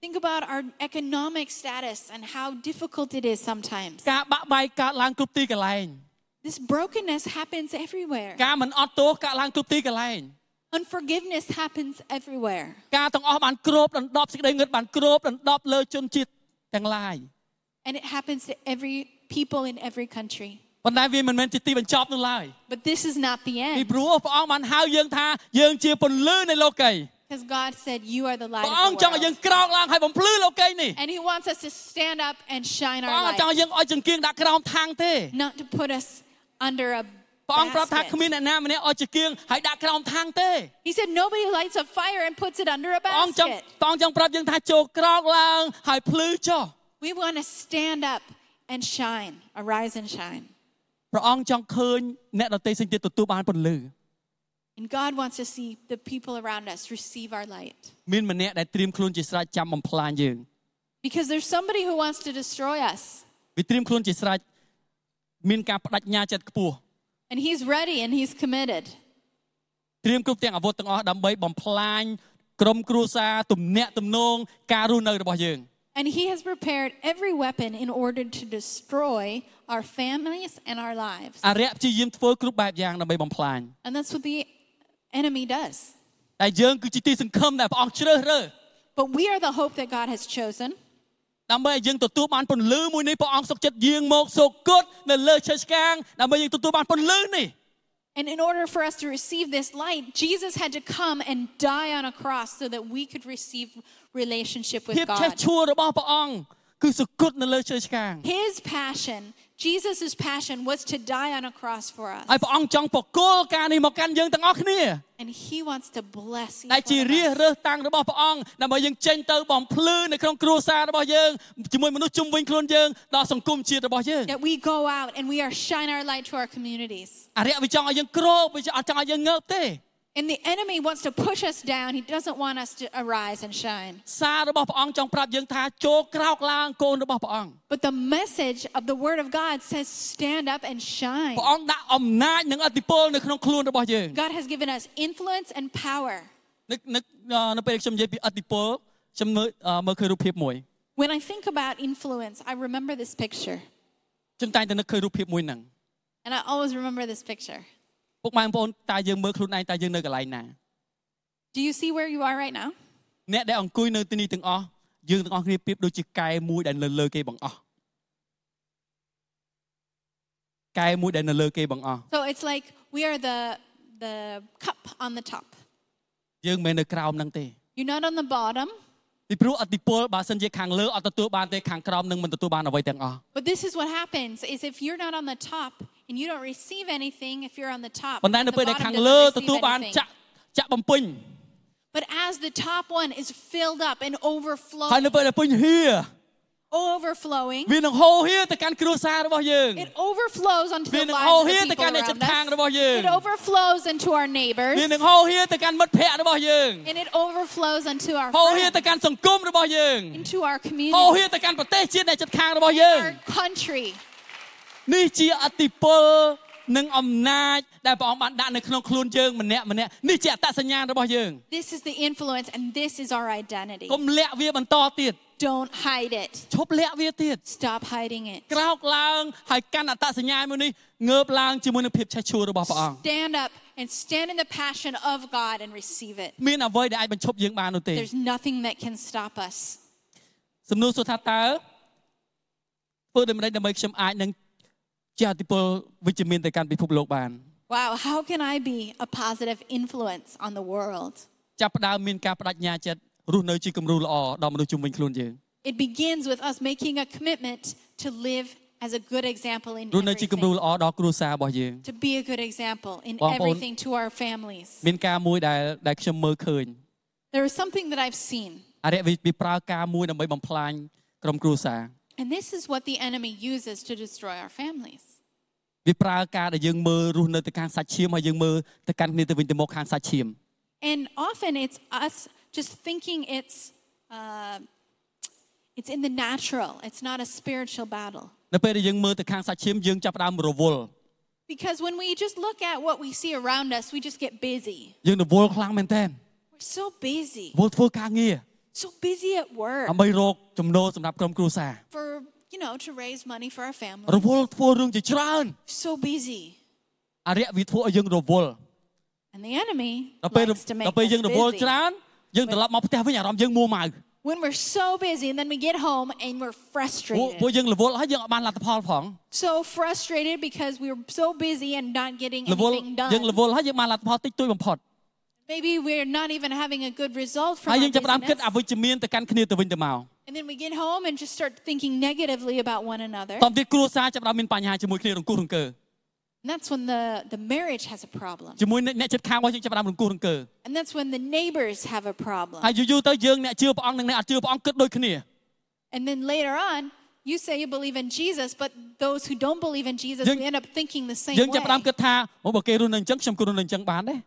S2: Think about our economic status and how difficult it is sometimes.
S1: ការបាក់បែកកើតឡើងគ្រប់ទីកន្លែង
S2: This brokenness happens everywhere.
S1: ការមិនអត់ទោសកើតឡើងគ្រប់ទីកន្លែង
S2: Unforgiveness happens everywhere.
S1: ការទាំងអស់បានគ្របដណ្ដប់សេចក្តីងឹតបានគ្របដណ្ដប់លើជនជាតិទាំងឡាយ
S2: And it happens to every people in every country.
S1: ប៉ុន្តែវាមិនមែនជាទីបញ្ចប់នោះឡើយ
S2: But this is not the
S1: ពី
S2: end.
S1: ព្រោះព្រះអង្គបានហៅយើងថាយើងជាពន្លឺនៃលោកី
S2: Because God said, You are the light
S1: ព្រះអង្គចង់ឲ្យ
S2: of the
S1: យើង
S2: world.
S1: ក្រោកឡើងហើយបំភ្លឺលោកីនេះ
S2: And He wants us to stand up and shine
S1: ព្រះ
S2: our
S1: អង្គចង់ឲ្យ
S2: light,
S1: យើងឲ្យចង្គៀងដាក់ក្រោមថាំងទេ
S2: not to put us under a
S1: ព្រះអង្គប្រាប់ថាគ្មាន
S2: basket.
S1: អ្នកណាម្នាក់ឲ្យចង្គៀងហើយដាក់ក្រោមថាំងទេ
S2: He said, Nobody lights a fire and puts it under a
S1: ព្រះអង្គចង់
S2: basket.
S1: ព្រះអង្គចង់ប្រាប់យើងថាចូលក្រោកឡើងហើយភ្លឺចុះ
S2: We want to stand up and shine, arise and shine.
S1: ព្រះអង្គចង់ឃើញអ្នកដទៃផ្សេងទៀតទទួលបានពន្លឺ
S2: And God wants to see the people around us receive our light.
S1: មានម្នាក់ដែលត្រៀមខ្លួនជាស្រេចចាំបំផ្លាញយើង
S2: Because there's somebody who wants to destroy us.
S1: វាត្រៀមខ្លួនជាស្រេចមានការបដិញ្ញាចិត្តខ្ពស់
S2: And he's ready and he's committed.
S1: ត្រៀមគ្រប់ទាំងអាវុធទាំងអស់ដើម្បីបំផ្លាញក្រុមគ្រួសារទំនាក់ទំនងការរស់នៅរបស់យើង
S2: And he has prepared every weapon in order to destroy our families and our lives.
S1: អរិយព្យាយាមធ្វើគ្រប់បែបយ៉ាងដើម្បីបំផ្លាញ
S2: And that's what the enemy does.
S1: តែយើងគឺជាទីសង្ឃឹមដែលព្រះអង្គជ្រើសរើស
S2: But we are the hope that God has chosen
S1: ដើម្បីឲ្យយើងទទួលបានពន្លឺមួយនេះព្រះអង្គសុខចិត្តយាងមកសូកគុតនៅលើឆេះឆ្កាងដើម្បីយើងទទួលបានពន្លឺនេះ
S2: And in order for us to receive this light, Jesus had to come and die on a cross so that we could receive relationship
S1: ភាព
S2: with
S1: ឆេះ
S2: God.
S1: ឆួលរបស់ព្រះអង្គគឺសគត់នៅលើជើងឆ្កាង
S2: His passion, Jesus' passion, was to die on a cross for us.
S1: ហើយព្រះអង្គចង់បកគលការនេះមកកាន់យើងទាំងអស់គ្នា
S2: And He wants to bless
S1: ដែលជា
S2: each
S1: រាស
S2: one of us.
S1: រើសតាំងរបស់ព្រះអង្គដើម្បីយើងចេញទៅបំភ្លឺនៅក្នុងគ្រួសាររបស់យើងជាមួយមនុស្សជុំវិញខ្លួនយើងដល់សង្គមជាតិរបស់យើង
S2: That we go out and we are shine our light to our communities.
S1: អរិយវិចង់ឲ្យយើងក្រោកវាអត់ចង់ឲ្យយើងងើបទេ
S2: And the enemy wants to push us down. He doesn't want us to arise and shine.
S1: សាររបស់ព្រះអង្គចង់ប្រាប់យើងថាចូលក្រោកឡើងកូនរបស់ព្រះអង្គ
S2: But the message of the Word of God says, stand up and shine.
S1: ព្រះអង្គដាក់អំណាចនិងអធិពលនៅក្នុងខ្លួនរបស់យើង
S2: God has given us influence and power.
S1: នៅនៅនៅពេលខ្ញុំនិយាយពីអធិពលខ្ញុំមើលអឺមើលឃើញរូបភាពមួយ
S2: When I think about influence, I remember this picture.
S1: ខ្ញុំតែងតែនឹកឃើញរូបភាពមួយហ្នឹង
S2: And I always remember this picture.
S1: ពុកម៉ែបងប្អូនតើយើងមើលខ្លួនឯងតើយើងនៅកន្លែងណា
S2: Do you see where you are right now?
S1: អ្នកដែលអង្គុយនៅទីនេះទាំងអស់យើងទាំងអស់គ្នាប្រៀបដូចជាកែមួយដែលនៅលើគេបង្អស់កែមួយដែលនៅលើគេបង្អស់
S2: So it's like we are the, the cup on the top.
S1: យើងមិនមែននៅក្រោមហ្នឹងទេ
S2: You're not on the bottom,
S1: ពីព្រោះអតិពលបើសិនជាខាងលើអត់ទទួលបានទេខាងក្រោមនឹងមិនទទួលបានអ្វីទាំងអស់
S2: but this is what happens is if you're not on the top and you don't receive anything, if you're on the top,
S1: ប៉ុន្តែ
S2: the
S1: នៅពេលដែល
S2: bottom
S1: ខាង
S2: doesn't
S1: លើ
S2: receive
S1: ទទួលបាន
S2: anything.
S1: ចាក់ចាក់បំពេញ
S2: But as the top one is filled up and
S1: ហើយ
S2: overflowing,
S1: នៅពេលដែលពេញហៀ
S2: overflowing,
S1: វានឹងហូរហៀទៅកាន់គ្រួសាររបស់យើង
S2: It overflows onto the
S1: វានឹង
S2: lives of the
S1: ហូរហៀទៅកាន់អ្ន
S2: people
S1: ក
S2: around
S1: ជិតខាងរបស់យើង
S2: us. It overflows into our
S1: វា
S2: neighbors.
S1: នឹងហូរហៀទៅកាន់មិត្តភ័ក្តិរបស់យើង
S2: And it overflows into our
S1: ហូរហៀទៅ
S2: friends,
S1: កាន់សង្គមរបស់យើង
S2: into our
S1: ហូរហៀ
S2: community,
S1: ទៅកាន់ប្រទេសជាតិអ្នកជិតខាងរបស់យើង
S2: our country.
S1: នេះជាអតិពលនិងអំណាចដែលព្រះអង្គបានដាក់នៅក្នុងខ្លួនយើងម្នាក់ម្នាក់នេះជាអត្តសញ្ញាណរបស់យើង
S2: This is the influence and this is our identity.
S1: កុំលាក់វាបន្តទៀត
S2: Don't hide it.
S1: ឈប់លាក់វាទៀត
S2: Stop hiding it.
S1: ក្រោកឡើងហើយកាន់អត្តសញ្ញាណមួយនេះងើបឡើងជាមួយនឹងភាពឆេះឆួលរបស់ព្រះអង្គ
S2: Stand up and stand in the passion of God and receive it.
S1: មានអ្វីដែលអាចបញ្ឈប់យើងបាននោះទេ
S2: There's nothing that can stop us.
S1: សំណួរសួរថាតើធ្វើដូចម្តេចដើម្បីខ្ញុំអាចនឹងជាអតិពលវិជ្ជមានទៅកាន់ពិភពលោកបាន
S2: Wow, how can I be a positive influence on the world?
S1: ចាប់ផ្ដើមមានការបដិញ្ញាចិត្តរស់នៅជាគំរូល្អដល់មនុស្សជុំវិញខ្លួនយើង
S2: It begins with us making a commitment to live as a good example in
S1: រស់នៅជាគំរូ
S2: everything,
S1: ល្អដល់គ្រួសាររបស់យើង
S2: to be a good example in
S1: បងប្អូន
S2: everything to our families.
S1: មានការមួយដែលដែលខ្ញុំមើលឃើញ
S2: There is something that I've seen,
S1: អរិយវាប្រើការមួយដើម្បីបំផ្លាញក្រុមគ្រួសារ
S2: and this is what the enemy uses to destroy our families.
S1: វាប្រើការដែលយើងមើលរស់នៅទៅខាងសាច់ឈាមហើយយើងមើលទៅកាន់គ្នាទៅវិញទៅមកខាងសាច់ឈាម
S2: And often it's us just thinking it's uh, it's in the natural. It's not a spiritual battle.
S1: នៅពេលដែលយើងមើលទៅខាងសាច់ឈាមយើងចាប់ផ្ដើមរវល់
S2: Because when we just look at what we see around us, we just get busy.
S1: យើងរវល់ខ្លាំងមែនទែន
S2: We're so busy,
S1: វល់ធ្វើការងារ
S2: so busy at work
S1: ដើម្បីរកចំណូលសម្រាប់ក្រុមគ្រួសារ
S2: for you know to raise money for our family.
S1: រវល់ធ្វើរឿងជាច្រើន
S2: so busy.
S1: អរិយវាធ្វើឲ្យយើងរវល់
S2: And the enemy
S1: ដល់ពេល
S2: likes to make
S1: ដល់ពេលយើង
S2: us
S1: រវល់
S2: busy.
S1: ច្រើនយើងត្រឡប់មកផ្ទះវិញអារម្មណ៍យើងមួម៉ៅ
S2: When we're so busy and then we get home and we're
S1: ពួកពួក
S2: frustrated.
S1: យើងរវល់ហើយយើងអត់បានលទ្ធផលផង
S2: So frustrated because we're so busy and not getting
S1: រវល់
S2: anything
S1: យើងរ
S2: done.
S1: វល់ហើយយើងបានលទ្ធផលតិចតួចបំផុត
S2: Maybe we're not even having a good result
S1: ហើ
S2: from
S1: យយើ
S2: our
S1: ងចាប់ផ្ដើមគិតអ
S2: business.
S1: វិជ្ជមានទៅកាន់គ្នាទៅវិញទៅមក
S2: And then we get home and just start thinking negatively about one another.
S1: តោះទៀតគ្រួសារចាប់ផ្ដើមមានបញ្ហាជាមួយគ្នារង្គោះរង្គើ
S2: And that's when the, the marriage has a problem.
S1: ជាមួយអ្នកអ្នកជិតខាងរបស់យើងចាប់ផ្ដើមរង្គោះរង្គើ
S2: And that's when the neighbors have a
S1: ហើ
S2: problem.
S1: យយូរយូរទៅយើងអ្នកជឿព្រះអង្គនិងអ្នកអត់ជឿព្រះអង្គគិតដូចគ្នា
S2: And then later on, you say you believe in Jesus, but those who don't believe in Jesus,
S1: Dân-
S2: we end up thinking the
S1: យើ
S2: same
S1: ងចាប់ផ្ដើម
S2: way.
S1: គិតថាអូបើគេរស់នៅអញ្ចឹងខ្ញុំក៏រស់នៅអញ្ចឹងបានដែរ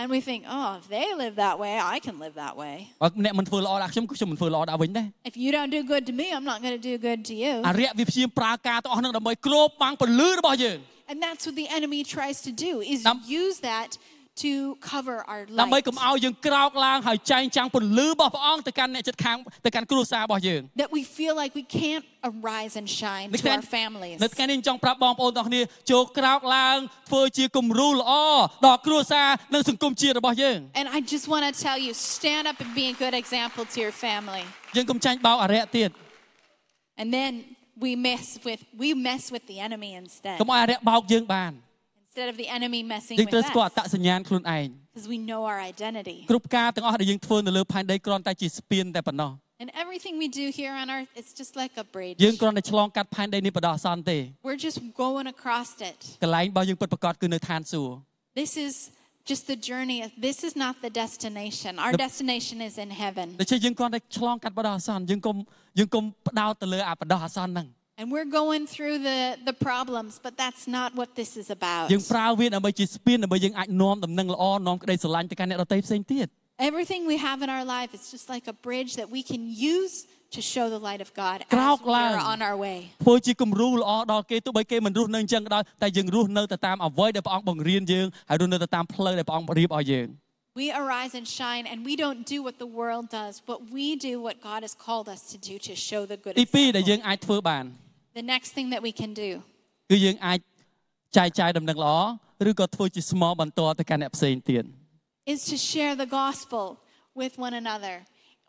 S2: And we think, oh, if they live that way, I can live that way.
S1: បើអ្នកមិនធ្វើល្អដាក់ខ្ញុំគឺខ្ញុំមិនធ្វើល្អដាក់វិញដែរ
S2: If you don't do good to me, I'm not going to do good to you.
S1: អរិយវាព្យាយាមប្រើការទាំងអស់ហ្នឹងដើម្បីគ្របបាំងពលឺរបស់យើង
S2: And that's what the enemy tries to do is
S1: Đâm-
S2: use that to cover our
S1: ដើម្បី
S2: light.
S1: កុំឲ្យយើងក្រោកឡើងហើយចែងចាំងពលឺរបស់ព្រះអង្គទៅកាន់អ្នកជិតខាងទៅកាន់គ្រួសាររបស់យើង
S2: That we feel like we can't arise and shine
S1: នៅ
S2: to
S1: ថ្ងៃ
S2: our families.
S1: នៅថ្ងៃនេះចង់ប្រាប់បងប្អូនទាំងអស់គ្នាចូលក្រោកឡើងធ្វើជាគំរូល្អដល់គ្រួសារនិងសង្គមជាតិរបស់យើង
S2: And I just want to tell you, stand up and be a good example to your family.
S1: យើងកុំចាញ់បោកអរិយទៀត
S2: And then we mess with we mess with the enemy instead.
S1: កុំឲ្យអរិយបោកយើងបាន
S2: And instead of the enemy messing
S1: យើង
S2: with
S1: ត្រូវស្គាល់អ
S2: us.
S1: ត្តសញ្ញាណខ្លួនឯង
S2: Because we know our identity.
S1: គ្រប់ការទាំងអស់ដែលយើងធ្វើនៅលើផែនដីគ្រាន់តែជាស្ពានតែប៉ុណ្ណោះ
S2: And everything we do here on earth, it's just like a bridge.
S1: យើងគ្រាន់តែឆ្លងកាត់ផែនដីនេះបដោះអាសន្នទេ
S2: We're just going across it.
S1: កន្លែងរបស់យើងពិតប្រាកដគឺនៅឋានសួគ៌
S2: This is just the journey. This is not the destination. Our
S1: The-
S2: destination is in heaven.
S1: ដូច្នេះយើងគ្រាន់តែឆ្លងកាត់បដោះអាសន្នយើងកុំយើងកុំផ្ដោតទៅលើអាបដោះអាសន្នហ្នឹង
S2: And we're going through the, the problems, but that's not what this is about.
S1: យើងប្រើវាដើម្បីជាស្ពានដើម្បីយើងអាចនាំដំណឹងល្អនាំក្តីស្រឡាញ់ទៅកាន់អ្នកដទៃផ្សេងទៀត
S2: Everything we have in our life is just like a bridge that we can use to show the light of God as
S1: Krauk
S2: we're
S1: lang.
S2: on our way.
S1: ធ្វើជាគំរូល្អដល់គេទោះបីគេមិនរស់នៅអញ្ចឹងក៏ដោយតែយើងរស់នៅទៅតាមអ្វីដែលព្រះអង្គបង្រៀនយើងហើយរស់នៅទៅតាមផ្លូវដែលព្រះអង្គរៀបឲ្យយើង
S2: We arise and shine, and we don't do what the world does, but we do what God has called us to do to show the good
S1: ទីពីរដែលយើ
S2: example.
S1: ងអាចធ្វើបាន
S2: The next thing that we can do
S1: គឺយើងអាចចែកចាយដំណឹងល្អឬក៏ធ្វើជាស្មោបន្តទៅកាន់អ្នកផ្សេងទៀត
S2: is to share the gospel with one another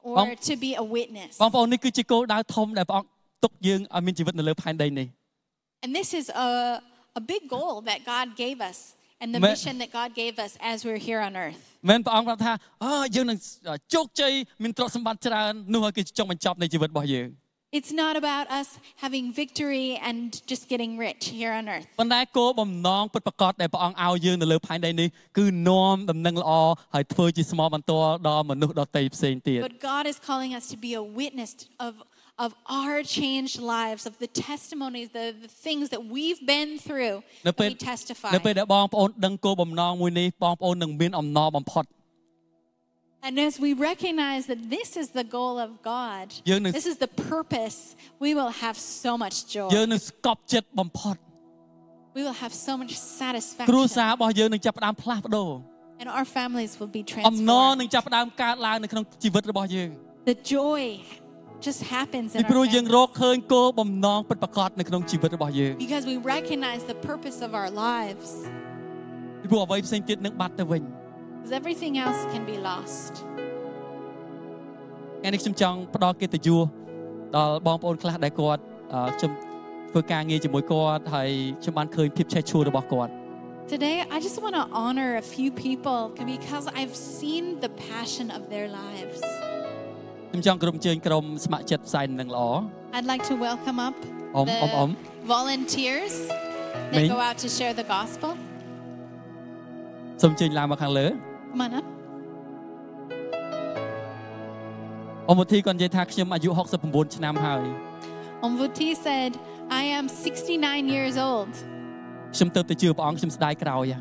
S2: or
S1: Bong-
S2: to be a witness.
S1: បងប្អូននេះគឺជាគោលដៅធំដែលព្រះអង្គទុកយើងឲ្យមានជីវិតនៅលើផែនដីនេះ
S2: And this is a, a big goal that God gave us and the
S1: Me-
S2: mission that God gave us as we're here on earth.
S1: មិនព្រះអង្គប្រាប់ថាអើយើងនឹងជោគជ័យមានទ្រព្យសម្បត្តិច្រើននោះហើយគឺជាចុងបញ្ចប់នៃជីវិតរបស់យើង
S2: It's not about us having victory and just getting rich here on earth.
S1: ប៉ុន្តែគោលបំណងពិតប្រាកដដែលព្រះអង្គឲ្យយើងនៅលើផែនដីនេះគឺនាំដំណឹងល្អហើយធ្វើជាស្មោបន្ទាល់ដល់មនុស្សដទៃផ្សេងទៀត
S2: But God is calling us to be a witness of, of our changed lives, of the testimonies, the, the things that we've been through
S1: នៅ
S2: that
S1: ពេល
S2: we testify.
S1: នៅពេលដែលបងប្អូនដឹងគោលបំណងមួយនេះបងប្អូននឹងមានអំណរបំផុត
S2: And as we recognize that this is the goal of God,
S1: យើងនឹង-
S2: this is the purpose, we will have so much
S1: យើង
S2: joy.
S1: នឹងស្កប់ចិត្តបំផុត
S2: We will have so much
S1: គ្រួ
S2: satisfaction.
S1: សាររបស់យើងនឹងចាប់ផ្ដើមផ្លាស់ប្ដូរ
S2: And our families will be
S1: អំណរនឹង
S2: transformed.
S1: ចាប់ផ្ដើមកើតឡើងនៅក្នុងជីវិតរបស់យើង
S2: The joy just happens
S1: ពី
S2: in
S1: ព្រោះ
S2: our
S1: យើង
S2: families.
S1: រកឃើញគោលបំណងពិតប្រាកដនៅក្នុងជីវិតរបស់យើង
S2: Because we recognize the purpose of our lives.
S1: ពីព្រោះអ្វីផ្សេងទៀតនឹងបាត់ទៅវិញ
S2: Because everything else can be lost.
S1: ថ្ងៃនេះខ្ញុំចង់ផ្ដល់កិត្តិយសដល់បងប្អូនខ្លះដែលគាត់អឺខ្ញុំធ្វើការងារជាមួយគាត់ហើយខ្ញុំបានឃើញភាពឆេះឈួលរបស់គាត់
S2: Today, I just want to honor a few people because I've seen the passion of their lives.
S1: ខ្ញុំចង់ក្រុមអញ្ជើញក្រុមស្ម័គ្រចិត្តផ្សាយដំណឹងល្អ
S2: I'd like to welcome up
S1: Om,
S2: the
S1: om, om.
S2: volunteers that
S1: Ming.
S2: go out to share the gospel.
S1: សូមអញ្ជើញឡើងមកខាងលើ
S2: Come on up.
S1: អង្គមធីគាត់និយាយថាខ្ញុំអាយុ69ឆ្នាំហើយ
S2: Omvuti said, I am 69 years old.
S1: ខ្ញុំទៅទៅជឿព្រះអង្គខ្ញុំស្ដាយក្រោយហ៎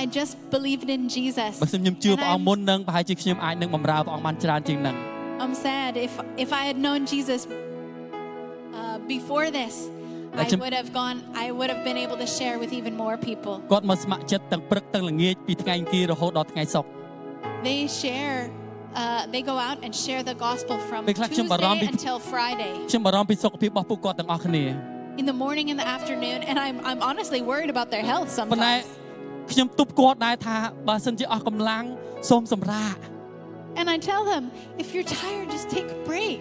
S2: I just believed in Jesus.
S1: បើសិនខ្ញុំជឿ
S2: And
S1: ព្រះអង្គ
S2: I'm
S1: មុននឹងប្រហែលជាខ្ញុំអាចនឹងបម្រើព្រះអង្គបានច្រើនជាងហ្នឹង
S2: I'm sad. If if I had known Jesus uh, before this, I
S1: That's a-
S2: would have gone. I would have been able to share with even more people.
S1: គាត់មកស្ម័គ្រចិត្តទាំងព្រឹកទាំងល្ងាចពីថ្ងៃអង្គាររហូតដល់ថ្ងៃសុក្រ
S2: They share. Uh, they go out and share the gospel from
S1: Bekla-
S2: Tuesday
S1: ខ្ញុំបារម្ភពី
S2: until Friday
S1: ខ្ញុំបារម្ភពីសុខភាពរបស់ពួកគាត់ទាំងអស់គ្នា
S2: in the morning and the afternoon, and I'm I'm honestly worried about their health
S1: ប៉ុន្តែ
S2: sometimes.
S1: ខ្ញុំទប់គាត់ដែរថាបើសិនជាអស់កម្លាំងសូមសម្រាក
S2: And I tell them, if you're tired, just take a break.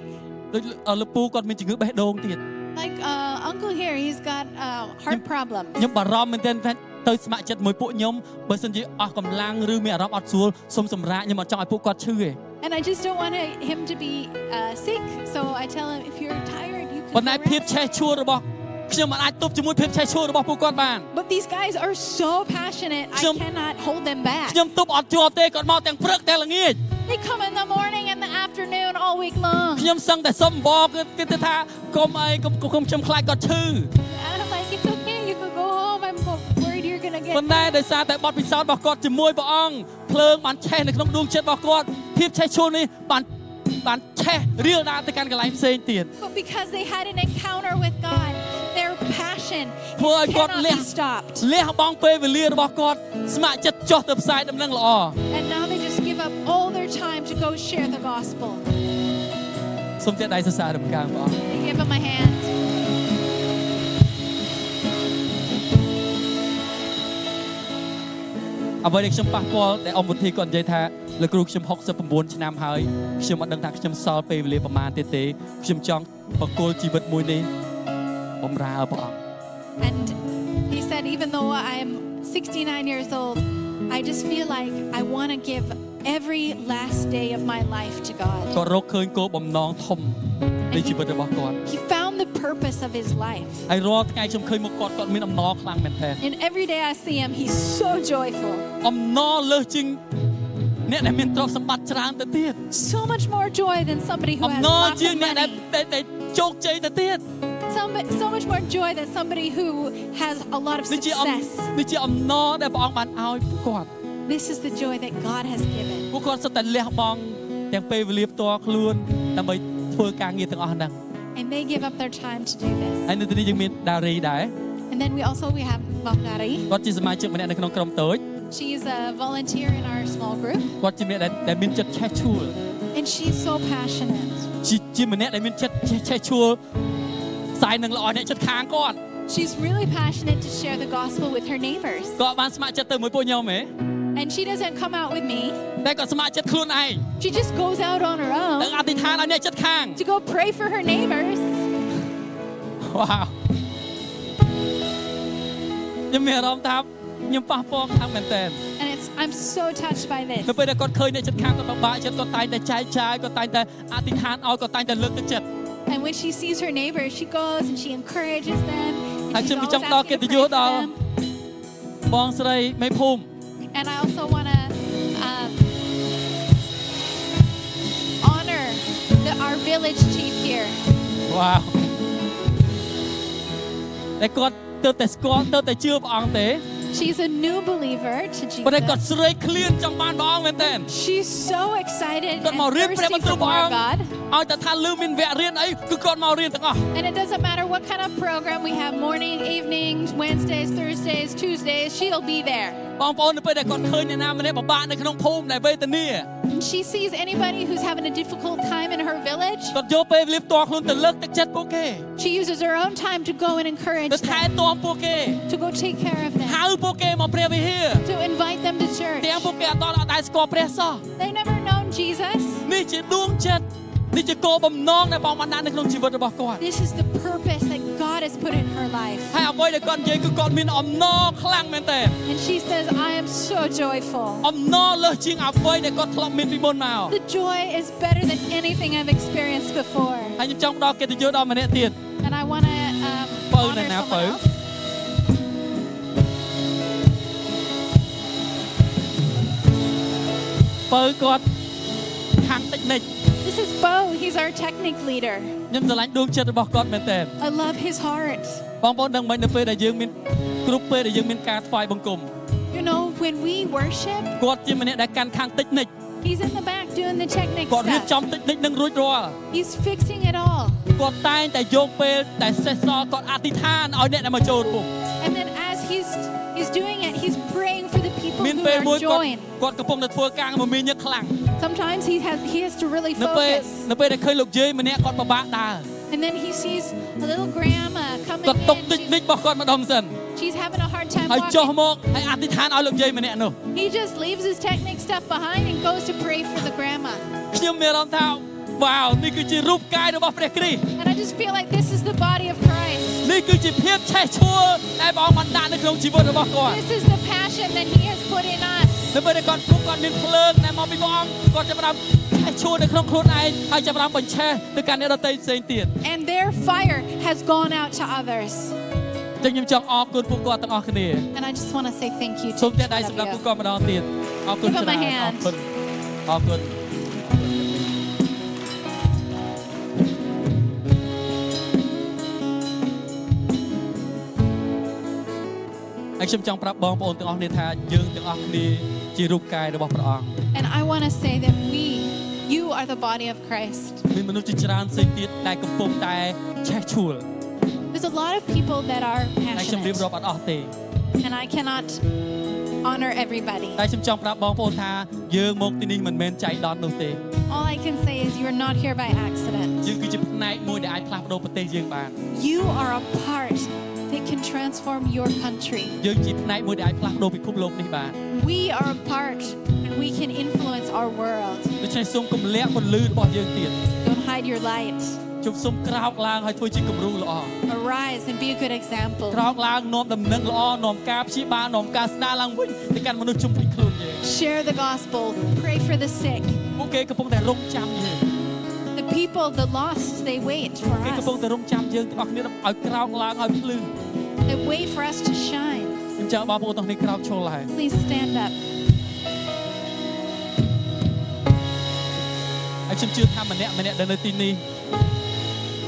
S1: ដូចលោកពូគាត់មានជំងឺបេះដូងទៀត
S2: Like uh, Uncle here, he's got uh, heart problems.
S1: ខ្ញុំបារម្ភមែនទែនថាទៅស្ម័គ្រចិត្តមួយពួកខ្ញុំបើសិនជាអស់កម្លាំងឬមានអារម្មណ៍អត់ស្រួលសូមសម្រាកខ្ញុំអត់ចង់ឲ្យពួកគាត់ឈឺទេ
S2: And I just don't want him to be uh, sick, so I tell him, if you're tired, you
S1: ប៉ុ
S2: can
S1: ន្តែ
S2: go
S1: ភាព
S2: rest."
S1: ឆេះឈួលរបស់ខ្ញុំមិនអាចទប់ជាមួយភាពឆេះឈួលរបស់ពួកគាត់បាន
S2: But these guys are so passionate, I
S1: Some-
S2: cannot hold them back.
S1: ខ្ញុំទប់អត់ជាប់ទេគាត់មកទាំងព្រឹកទាំងល្ងាច
S2: They come in the morning and the afternoon all week long.
S1: ខ្ញុំសឹងតែសុំអំបរគឺគេទៅថាកុំអីកុំកុំខ្ញុំខ្លាចគាត់ឈឺ
S2: And I'm like, it's okay, you can go home. I'm wo- worried you're gonna get.
S1: ប៉ុន្តែដោយសារតែបទពិសោធន៍របស់គាត់ជាមួយព្រះអង្គភ្លើងបានឆេះនៅក្នុងដួងចិត្តរបស់គាត់ភាពឆេះឈួលនេះបានបានឆេះរៀលដាលទៅកាន់កន្លែងផ្សេងទៀត
S2: But because they had an encounter with God, their passion it
S1: Thôi, God
S2: cannot be
S1: lẹ.
S2: stopped.
S1: លះបង់ពេលវេលារបស់គាត់ស្ម័គ្រចិត្តចុះទៅផ្សាយដំណឹងល្អ
S2: And now they just give up all their time to go share the gospel.
S1: សូមទៀតដៃសរសើររំកាងព្រះអង្គ
S2: I give him a hand.
S1: អ្វីដែលខ្ញុំប៉ះពាល់ដែលអង្គវិធីគាត់និយាយថាលោកគ្រូខ្ញុំ69ឆ្នាំហើយខ្ញុំអត់ដឹងថាខ្ញុំសល់ពេលវេលាប្រមាណទៀតទេខ្ញុំចង់បកគលជីវិតមួយនេះបំរើព្រះអង្គ
S2: And he said, even though I'm 69 years old, I just feel like I want to give every last day of my life to God.
S1: គាត់រកឃើញគោលបំណងធំនៃជីវិតរបស់គាត់
S2: He found the purpose of his life.
S1: ហើយរាល់ថ្ងៃខ្ញុំឃើញមកគាត់គាត់មានអំណរខ្លាំងមែនទែន
S2: And every day I see him, he's so joyful.
S1: អំណរលើសជាងអ្នកដែលមានទ្រព្យសម្បត្តិច្រើនទៅទៀត
S2: So much more joy than somebody who
S1: អំ
S2: has
S1: ណរ
S2: lots
S1: ជាង
S2: of
S1: អ្នកដែល
S2: money.
S1: ដែលដែលជោគជ័យទៅទៀត
S2: So, so much more joy than somebody who has a lot of
S1: នេះជាអំ
S2: success.
S1: នេះជាអំណរដែលព្រះអង្គបានឲ្យពួកគាត់
S2: This is the joy that God has given.
S1: ពួកគាត់សុទ្ធតែលះបង់ទាំងពេលវេលាផ្ទាល់ខ្លួនដើម្បីធ្វើការងារទាំងអស់ហ្នឹង
S2: And they give up their time to do this.
S1: ហើយនៅទីនេះយើងមានដារីដែរ
S2: And then we also we have Bangari.
S1: គាត់ជាសមាជិកម្នាក់នៅក្នុងក្រុមតូច
S2: She's a volunteer in our small group,
S1: គាត់ជាម្នាក់ដែលដែលមានចិត្តឆេះឆួល
S2: and she's so passionate.
S1: ជាជាម្នាក់ដែលមានចិត្តឆេះឆេះឈួលផ្សាយនឹងល្អអ្នកចិត្តខាងគាត់
S2: She's really passionate to share the gospel with her neighbors.
S1: គាត់បានស្ម័គ្រចិត្តទៅមួយពួកខ្ញុំហ៎
S2: And she doesn't come out with me.
S1: តែគាត់ស្ម័គ្រចិត្តខ្លួនឯង
S2: She just goes out on her
S1: ទៅ
S2: own
S1: អធិដ្ឋានឲ្យអ្នកចិត្តខាង
S2: to go pray for her neighbors.
S1: វ៉ាវខ្ញុំមានអារម្មណ៍ថាខ្ញុំប៉ះពាល់ខ្លាំងមែនតើ
S2: And it's I'm so touched by this.
S1: នៅពេលដែលគាត់ឃើញអ្នកចិត្តខាងគាត់ពិបាកចិត្តគាត់តែងតែចែកចាយគាត់តែងតែអធិដ្ឋានឲ្យគាត់តែងតែលើកទឹកចិត្ត
S2: And when she sees her neighbors, she goes and she encourages them. And,
S1: À,
S2: she's
S1: chứ mình
S2: always
S1: trong đó
S2: asking
S1: kia
S2: to
S1: thì vô
S2: pray for
S1: đâu.
S2: them.
S1: បងស្រីមេភូមិ
S2: And I also want to um, honor the, our village chief here.
S1: វ៉ាវតែគាត់ទើបតែស្គាល់ទើបតែជឿព្រះអង្គទេ
S2: She's a new believer to
S1: ប៉ុន្តែគាត់
S2: Jesus.
S1: ស្រេកឃ្លានចង់បានព្រះអង្គមែនតើ
S2: She's so excited and
S1: Con màu riết
S2: thirsty
S1: phải đem ăn
S2: for more
S1: trâu
S2: of God.
S1: ឲ្យតែថាលឺមានវគ្គរៀនអីគឺគាត់មករៀនទាំងអស់
S2: And it doesn't matter what kind of program we have morning, evenings, Wednesdays, Thursdays, Tuesdays, she'll be there.
S1: បងប្អូននៅពេលដែលគាត់ឃើញអ្នកណាម្នាក់ពិបាកនៅក្នុងភូមិដែលវេទនា
S2: And she sees anybody who's having a difficult time in her village.
S1: គាត់យកពេលវេលាផ្ទាល់ខ្លួនទៅលើកទឹកចិត្តពួកគេ
S2: She uses her own time to go and encourage
S1: ទៅថែ
S2: them,
S1: ទាំពួកគេ
S2: to go take care of them,
S1: ហៅពួកគេមកព្រះវិហារ
S2: to invite them to church.
S1: ទាំងពួកគេអត់ដល់អត់ដែលស្គាល់ព្រះសោះ
S2: They've never known Jesus.
S1: នេះជាដួងចិត្តនេះជាគោលបំណងដែលបងបានដាក់នៅក្នុងជីវិតរបស់គាត់
S2: This is the purpose that God has put in her life.
S1: ហើយអ្វីដែលគាត់និយាយគឺគាត់មានអំណរខ្លាំងមែនតើ
S2: And she says, I am so joyful.
S1: អំណរលើសជាងអ្វីដែលគាត់ធ្លាប់មានពីមុនមក
S2: The joy is better than anything I've experienced before.
S1: ហើយខ្ញុំចង់ផ្ដល់កិត្តិយសដល់ម្នាក់ទៀត
S2: And I want to um,
S1: Phone
S2: honor
S1: này nè,
S2: someone
S1: phone.
S2: else.
S1: ពើគាត់ខាងតិចនិច
S2: This is Bo. He's our technique leader.
S1: ខ្ញុំស្រឡាញ់ដួងចិត្តរបស់គាត់មែនតើ
S2: I love his heart.
S1: បងប្អូនដឹងមិននៅពេលដែលយើងមានគ្រប់ពេលដែលយើងមានការថ្វាយបង្គំ
S2: You know, when we worship,
S1: គាត់ជាម្នាក់ដែលកាន់ខាងតិចនិច
S2: he's in the back doing the technique
S1: គាត់រៀបចំ
S2: stuff.
S1: តិចនិចនឹងរួចរាល់
S2: He's fixing it all.
S1: គាត់តែងតែយកពេលតែសេះសល់គាត់អធិដ្ឋានឲ្យអ្នកដែលមកចូលរួម
S2: And then as he's he's doing it, he's praying for the people
S1: មាន
S2: who
S1: ពេលមួ
S2: are
S1: យគាត់
S2: joined.
S1: គាត់កំពុងតែធ្វើការមួយមានញឹកខ្លាំង
S2: Sometimes he has he has to really
S1: នៅពេល
S2: focus.
S1: នៅពេលដែលឃើញលោកយាយម្នាក់គាត់ពិបាកដើរ
S2: And then he sees a little grandma coming
S1: គាត់ຕົកតិច
S2: in.
S1: និចរ
S2: She's,
S1: បស់គាត់ម្ដុំសិន
S2: she's having a hard time
S1: ហើយចុះ
S2: walking.
S1: មកហើយអធិដ្ឋានឲ្យលោកយាយម្នាក់នោះ
S2: He just leaves his technique stuff behind and goes to pray for the grandma.
S1: ខ្ញុំមានអារម្មណ៍ថាវ៉ាវនេះគឺជារូបកាយរបស់ព្រះគ្រីស្ទ
S2: And I just feel like this is the body of Christ.
S1: នេះគឺជាភាពឆេះឈួលដែលព្រះអង្គបានដាក់នៅក្នុងជីវិតរបស់គាត់
S2: This is the passion that he has put in us.
S1: នៅពេលដែលគាត់ពុកគាត់មានភ្លើងដែលមកពីព្រះអង្គគាត់ចាប់ផ្ដើមឆេះឈួលនៅក្នុងខ្លួនឯងហើយចាប់ផ្ដើមបញ្ឆេះទៅកាន់អ្នកដទៃផ្សេងទៀត
S2: and their fire has gone out to others.
S1: ចឹងខ្ញុំចង់អរគុណពួកគាត់ទាំងអស់គ្នា
S2: And I just want to say thank you to
S1: សូម
S2: each
S1: តែដៃសម្រាប់
S2: one
S1: ពួក
S2: of you.
S1: គាត់ម្ដងទៀតអរគុណ
S2: Give
S1: ច្រើ
S2: them a
S1: នអ
S2: hand.
S1: រគុណអរគុណ ហើយខ្ញុំចង់ប្រាប់បងប្អូនទាំងអស់គ្នាថាយើងទាំងអស់គ្នាជារូបកាយរបស់ព្រះអង្គ
S2: And I want to say that we, you are the body of Christ.
S1: មានមនុស្សជាច្រើនផ្សេងទៀតដែលកំពុងតែឆេះឈួល
S2: There's a lot of people that are
S1: តែខ្ញុំរៀប
S2: passionate,
S1: រាប់អត់អស់ទេ
S2: and I cannot honor everybody.
S1: តែខ្ញុំចង់ប្រាប់បងប្អូនថាយើងមកទីនេះមិនមែនចៃដន្យនោះទេ
S2: All I can say is you are not here by accident.
S1: យើងគឺជាផ្នែកមួយដែលអាចផ្លាស់ប្ដូរប្រទេសយើងបាន
S2: You are a part that can transform your country.
S1: យើងជាផ្នែកមួយដែលអាចផ្លាស់ប្ដូរពិភពលោកនេះបាន
S2: We are a part, and we can influence our world.
S1: ដូច្នេះសូមគំលាក់ពន្លឺរបស់យើងទៀត
S2: Don't hide your light.
S1: ជប់សុំក្រោកឡើងហើយធ្វើជាគំរូល្អ
S2: Arise and be a good example.
S1: ក្រោកឡើងនាំដំណឹងល្អនាំការព្យាបាលនាំការស្នើឡើងវិញទៅកាន់មនុស្សជុំវិញខ្លួនយើង
S2: Share the gospel. Pray for the sick.
S1: ពួកគេកំពុងតែរងចាំយើង
S2: The people, the lost, they wait for
S1: គេកំពុង
S2: us.
S1: តែរងចាំយើងទាំងអស់គ្នាឲ្យក្រោកឡើងឲ្យភ្លឺ
S2: They wait for us to shine.
S1: ខ្ញុំចាំបងប្អូនទាំងនេះក្រោកឈរឡើង
S2: Please stand up.
S1: ហើយខ្ញុំជឿថាម្នាក់ម្នាក់ដែលនៅទីនេះ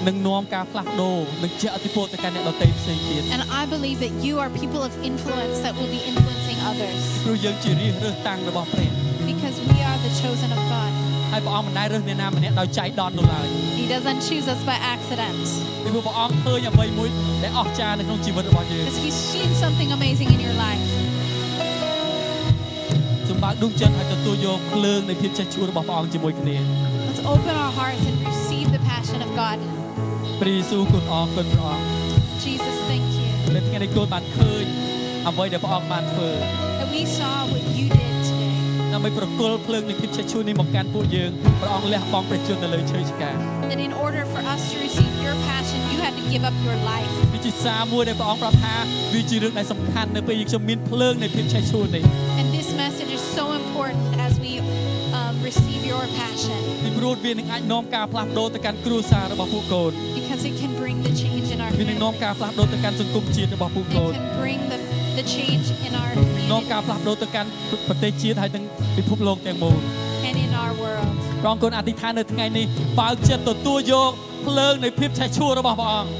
S1: នឹងនាំការផ្លាស់ប្ដូរនឹងជាអធិពលទៅកាន់អ្នកដទៃផ្សេងទៀត
S2: And I believe that you are people of influence that will be influencing others
S1: ព្រោះយើងជារាជរើសតាំងរបស់ព្រះ
S2: because we are the chosen of God.
S1: ហើយព្រះអង្គមិនដែលរើសអ្នកណាម្នាក់ដោយចៃដន្យនោះឡើយ
S2: He doesn't choose us by accident
S1: ពីព្រោះព្រះអង្គឃើញអ្វីមួយដែលអស្ចារ្យនៅក្នុងជីវិតរបស់យើង
S2: because He's seen something amazing in your life.
S1: សម្បើកដួងចិត្តឲ្យទទួលយកភ្លើងនៃភាពចេះឈួររបស់ព្រះអង្គជាមួយគ្នា
S2: Let's open our hearts and receive the passion of God.
S1: ព្រះយេស៊ូវគុណអរគុណព្រះអង្គ
S2: Jesus, thank you
S1: នៅថ្ងៃនេះគូនបានឃើញអ្វីដែលព្រះអង្គបានធ្វើ
S2: that we saw what you did today.
S1: ដើម្បីប្រគល់ភ្លើងនៃភាពចេះឈួរនេះមកកាន់ពួកយើងព្រះអង្គលះបង់ព្រះជន្មនៅលើឈើឆ្កាង
S2: That in order for us to receive your passion, you had to give up your life.
S1: វាជាសារមួយដែលព្រះអង្គប្រាប់ថាវាជារឿងដែលសំខាន់នៅពេលខ្ញុំមានភ្លើងនៃភាពឆេះឈួលនេះ
S2: And this message is so important as we um, receive your passion
S1: ពីព្រោះវានឹងអាចនាំការផ្លាស់ប្ដូរទៅកាន់គ្រួសាររបស់ពួកកូន
S2: because it can bring the change in our
S1: វានឹងនាំការ
S2: families.
S1: ផ្លាស់ប្ដូរទៅកាន់សង្គមជាតិរបស់ពួក
S2: It
S1: កូន
S2: can bring the, the change in our
S1: នាំការ
S2: community
S1: ផ្លាស់ប្ដូរទៅកាន់ប្រទេសជាតិហើយទាំងពិភពលោកទាំងមូល
S2: and in our world.
S1: ព្រះអង្គគុណអធិដ្ឋាននៅថ្ងៃនេះបើកចិត្តទទួលយកភ្លើងនៃភាពឆេះឈួលរបស់ព្រះអង្គ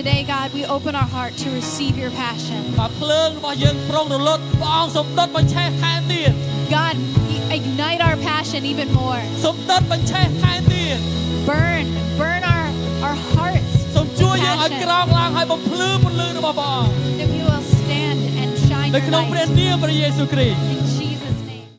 S2: Today, God, we open our heart to receive your passion.
S1: បើភ្លើងរបស់យើងប្រងរលត់ព្រះអង្គសំដិតបញ្ឆេះថែមទៀត
S2: God, we ignite our passion even more.
S1: សំដិតបញ្ឆេះថែមទៀត
S2: Burn, burn our, our hearts
S1: សូមជួយយើងឲ្យ
S2: Passion.
S1: ក្រោកឡើងឲ្យបំភ្លឺពន្លឺរបស់ព្រះអង្គ
S2: that we will stand and shine
S1: នៅ
S2: your
S1: ក្នុងព្រះ
S2: light.
S1: នាមព្រះយេស៊ូវគ្រីស្ទ
S2: In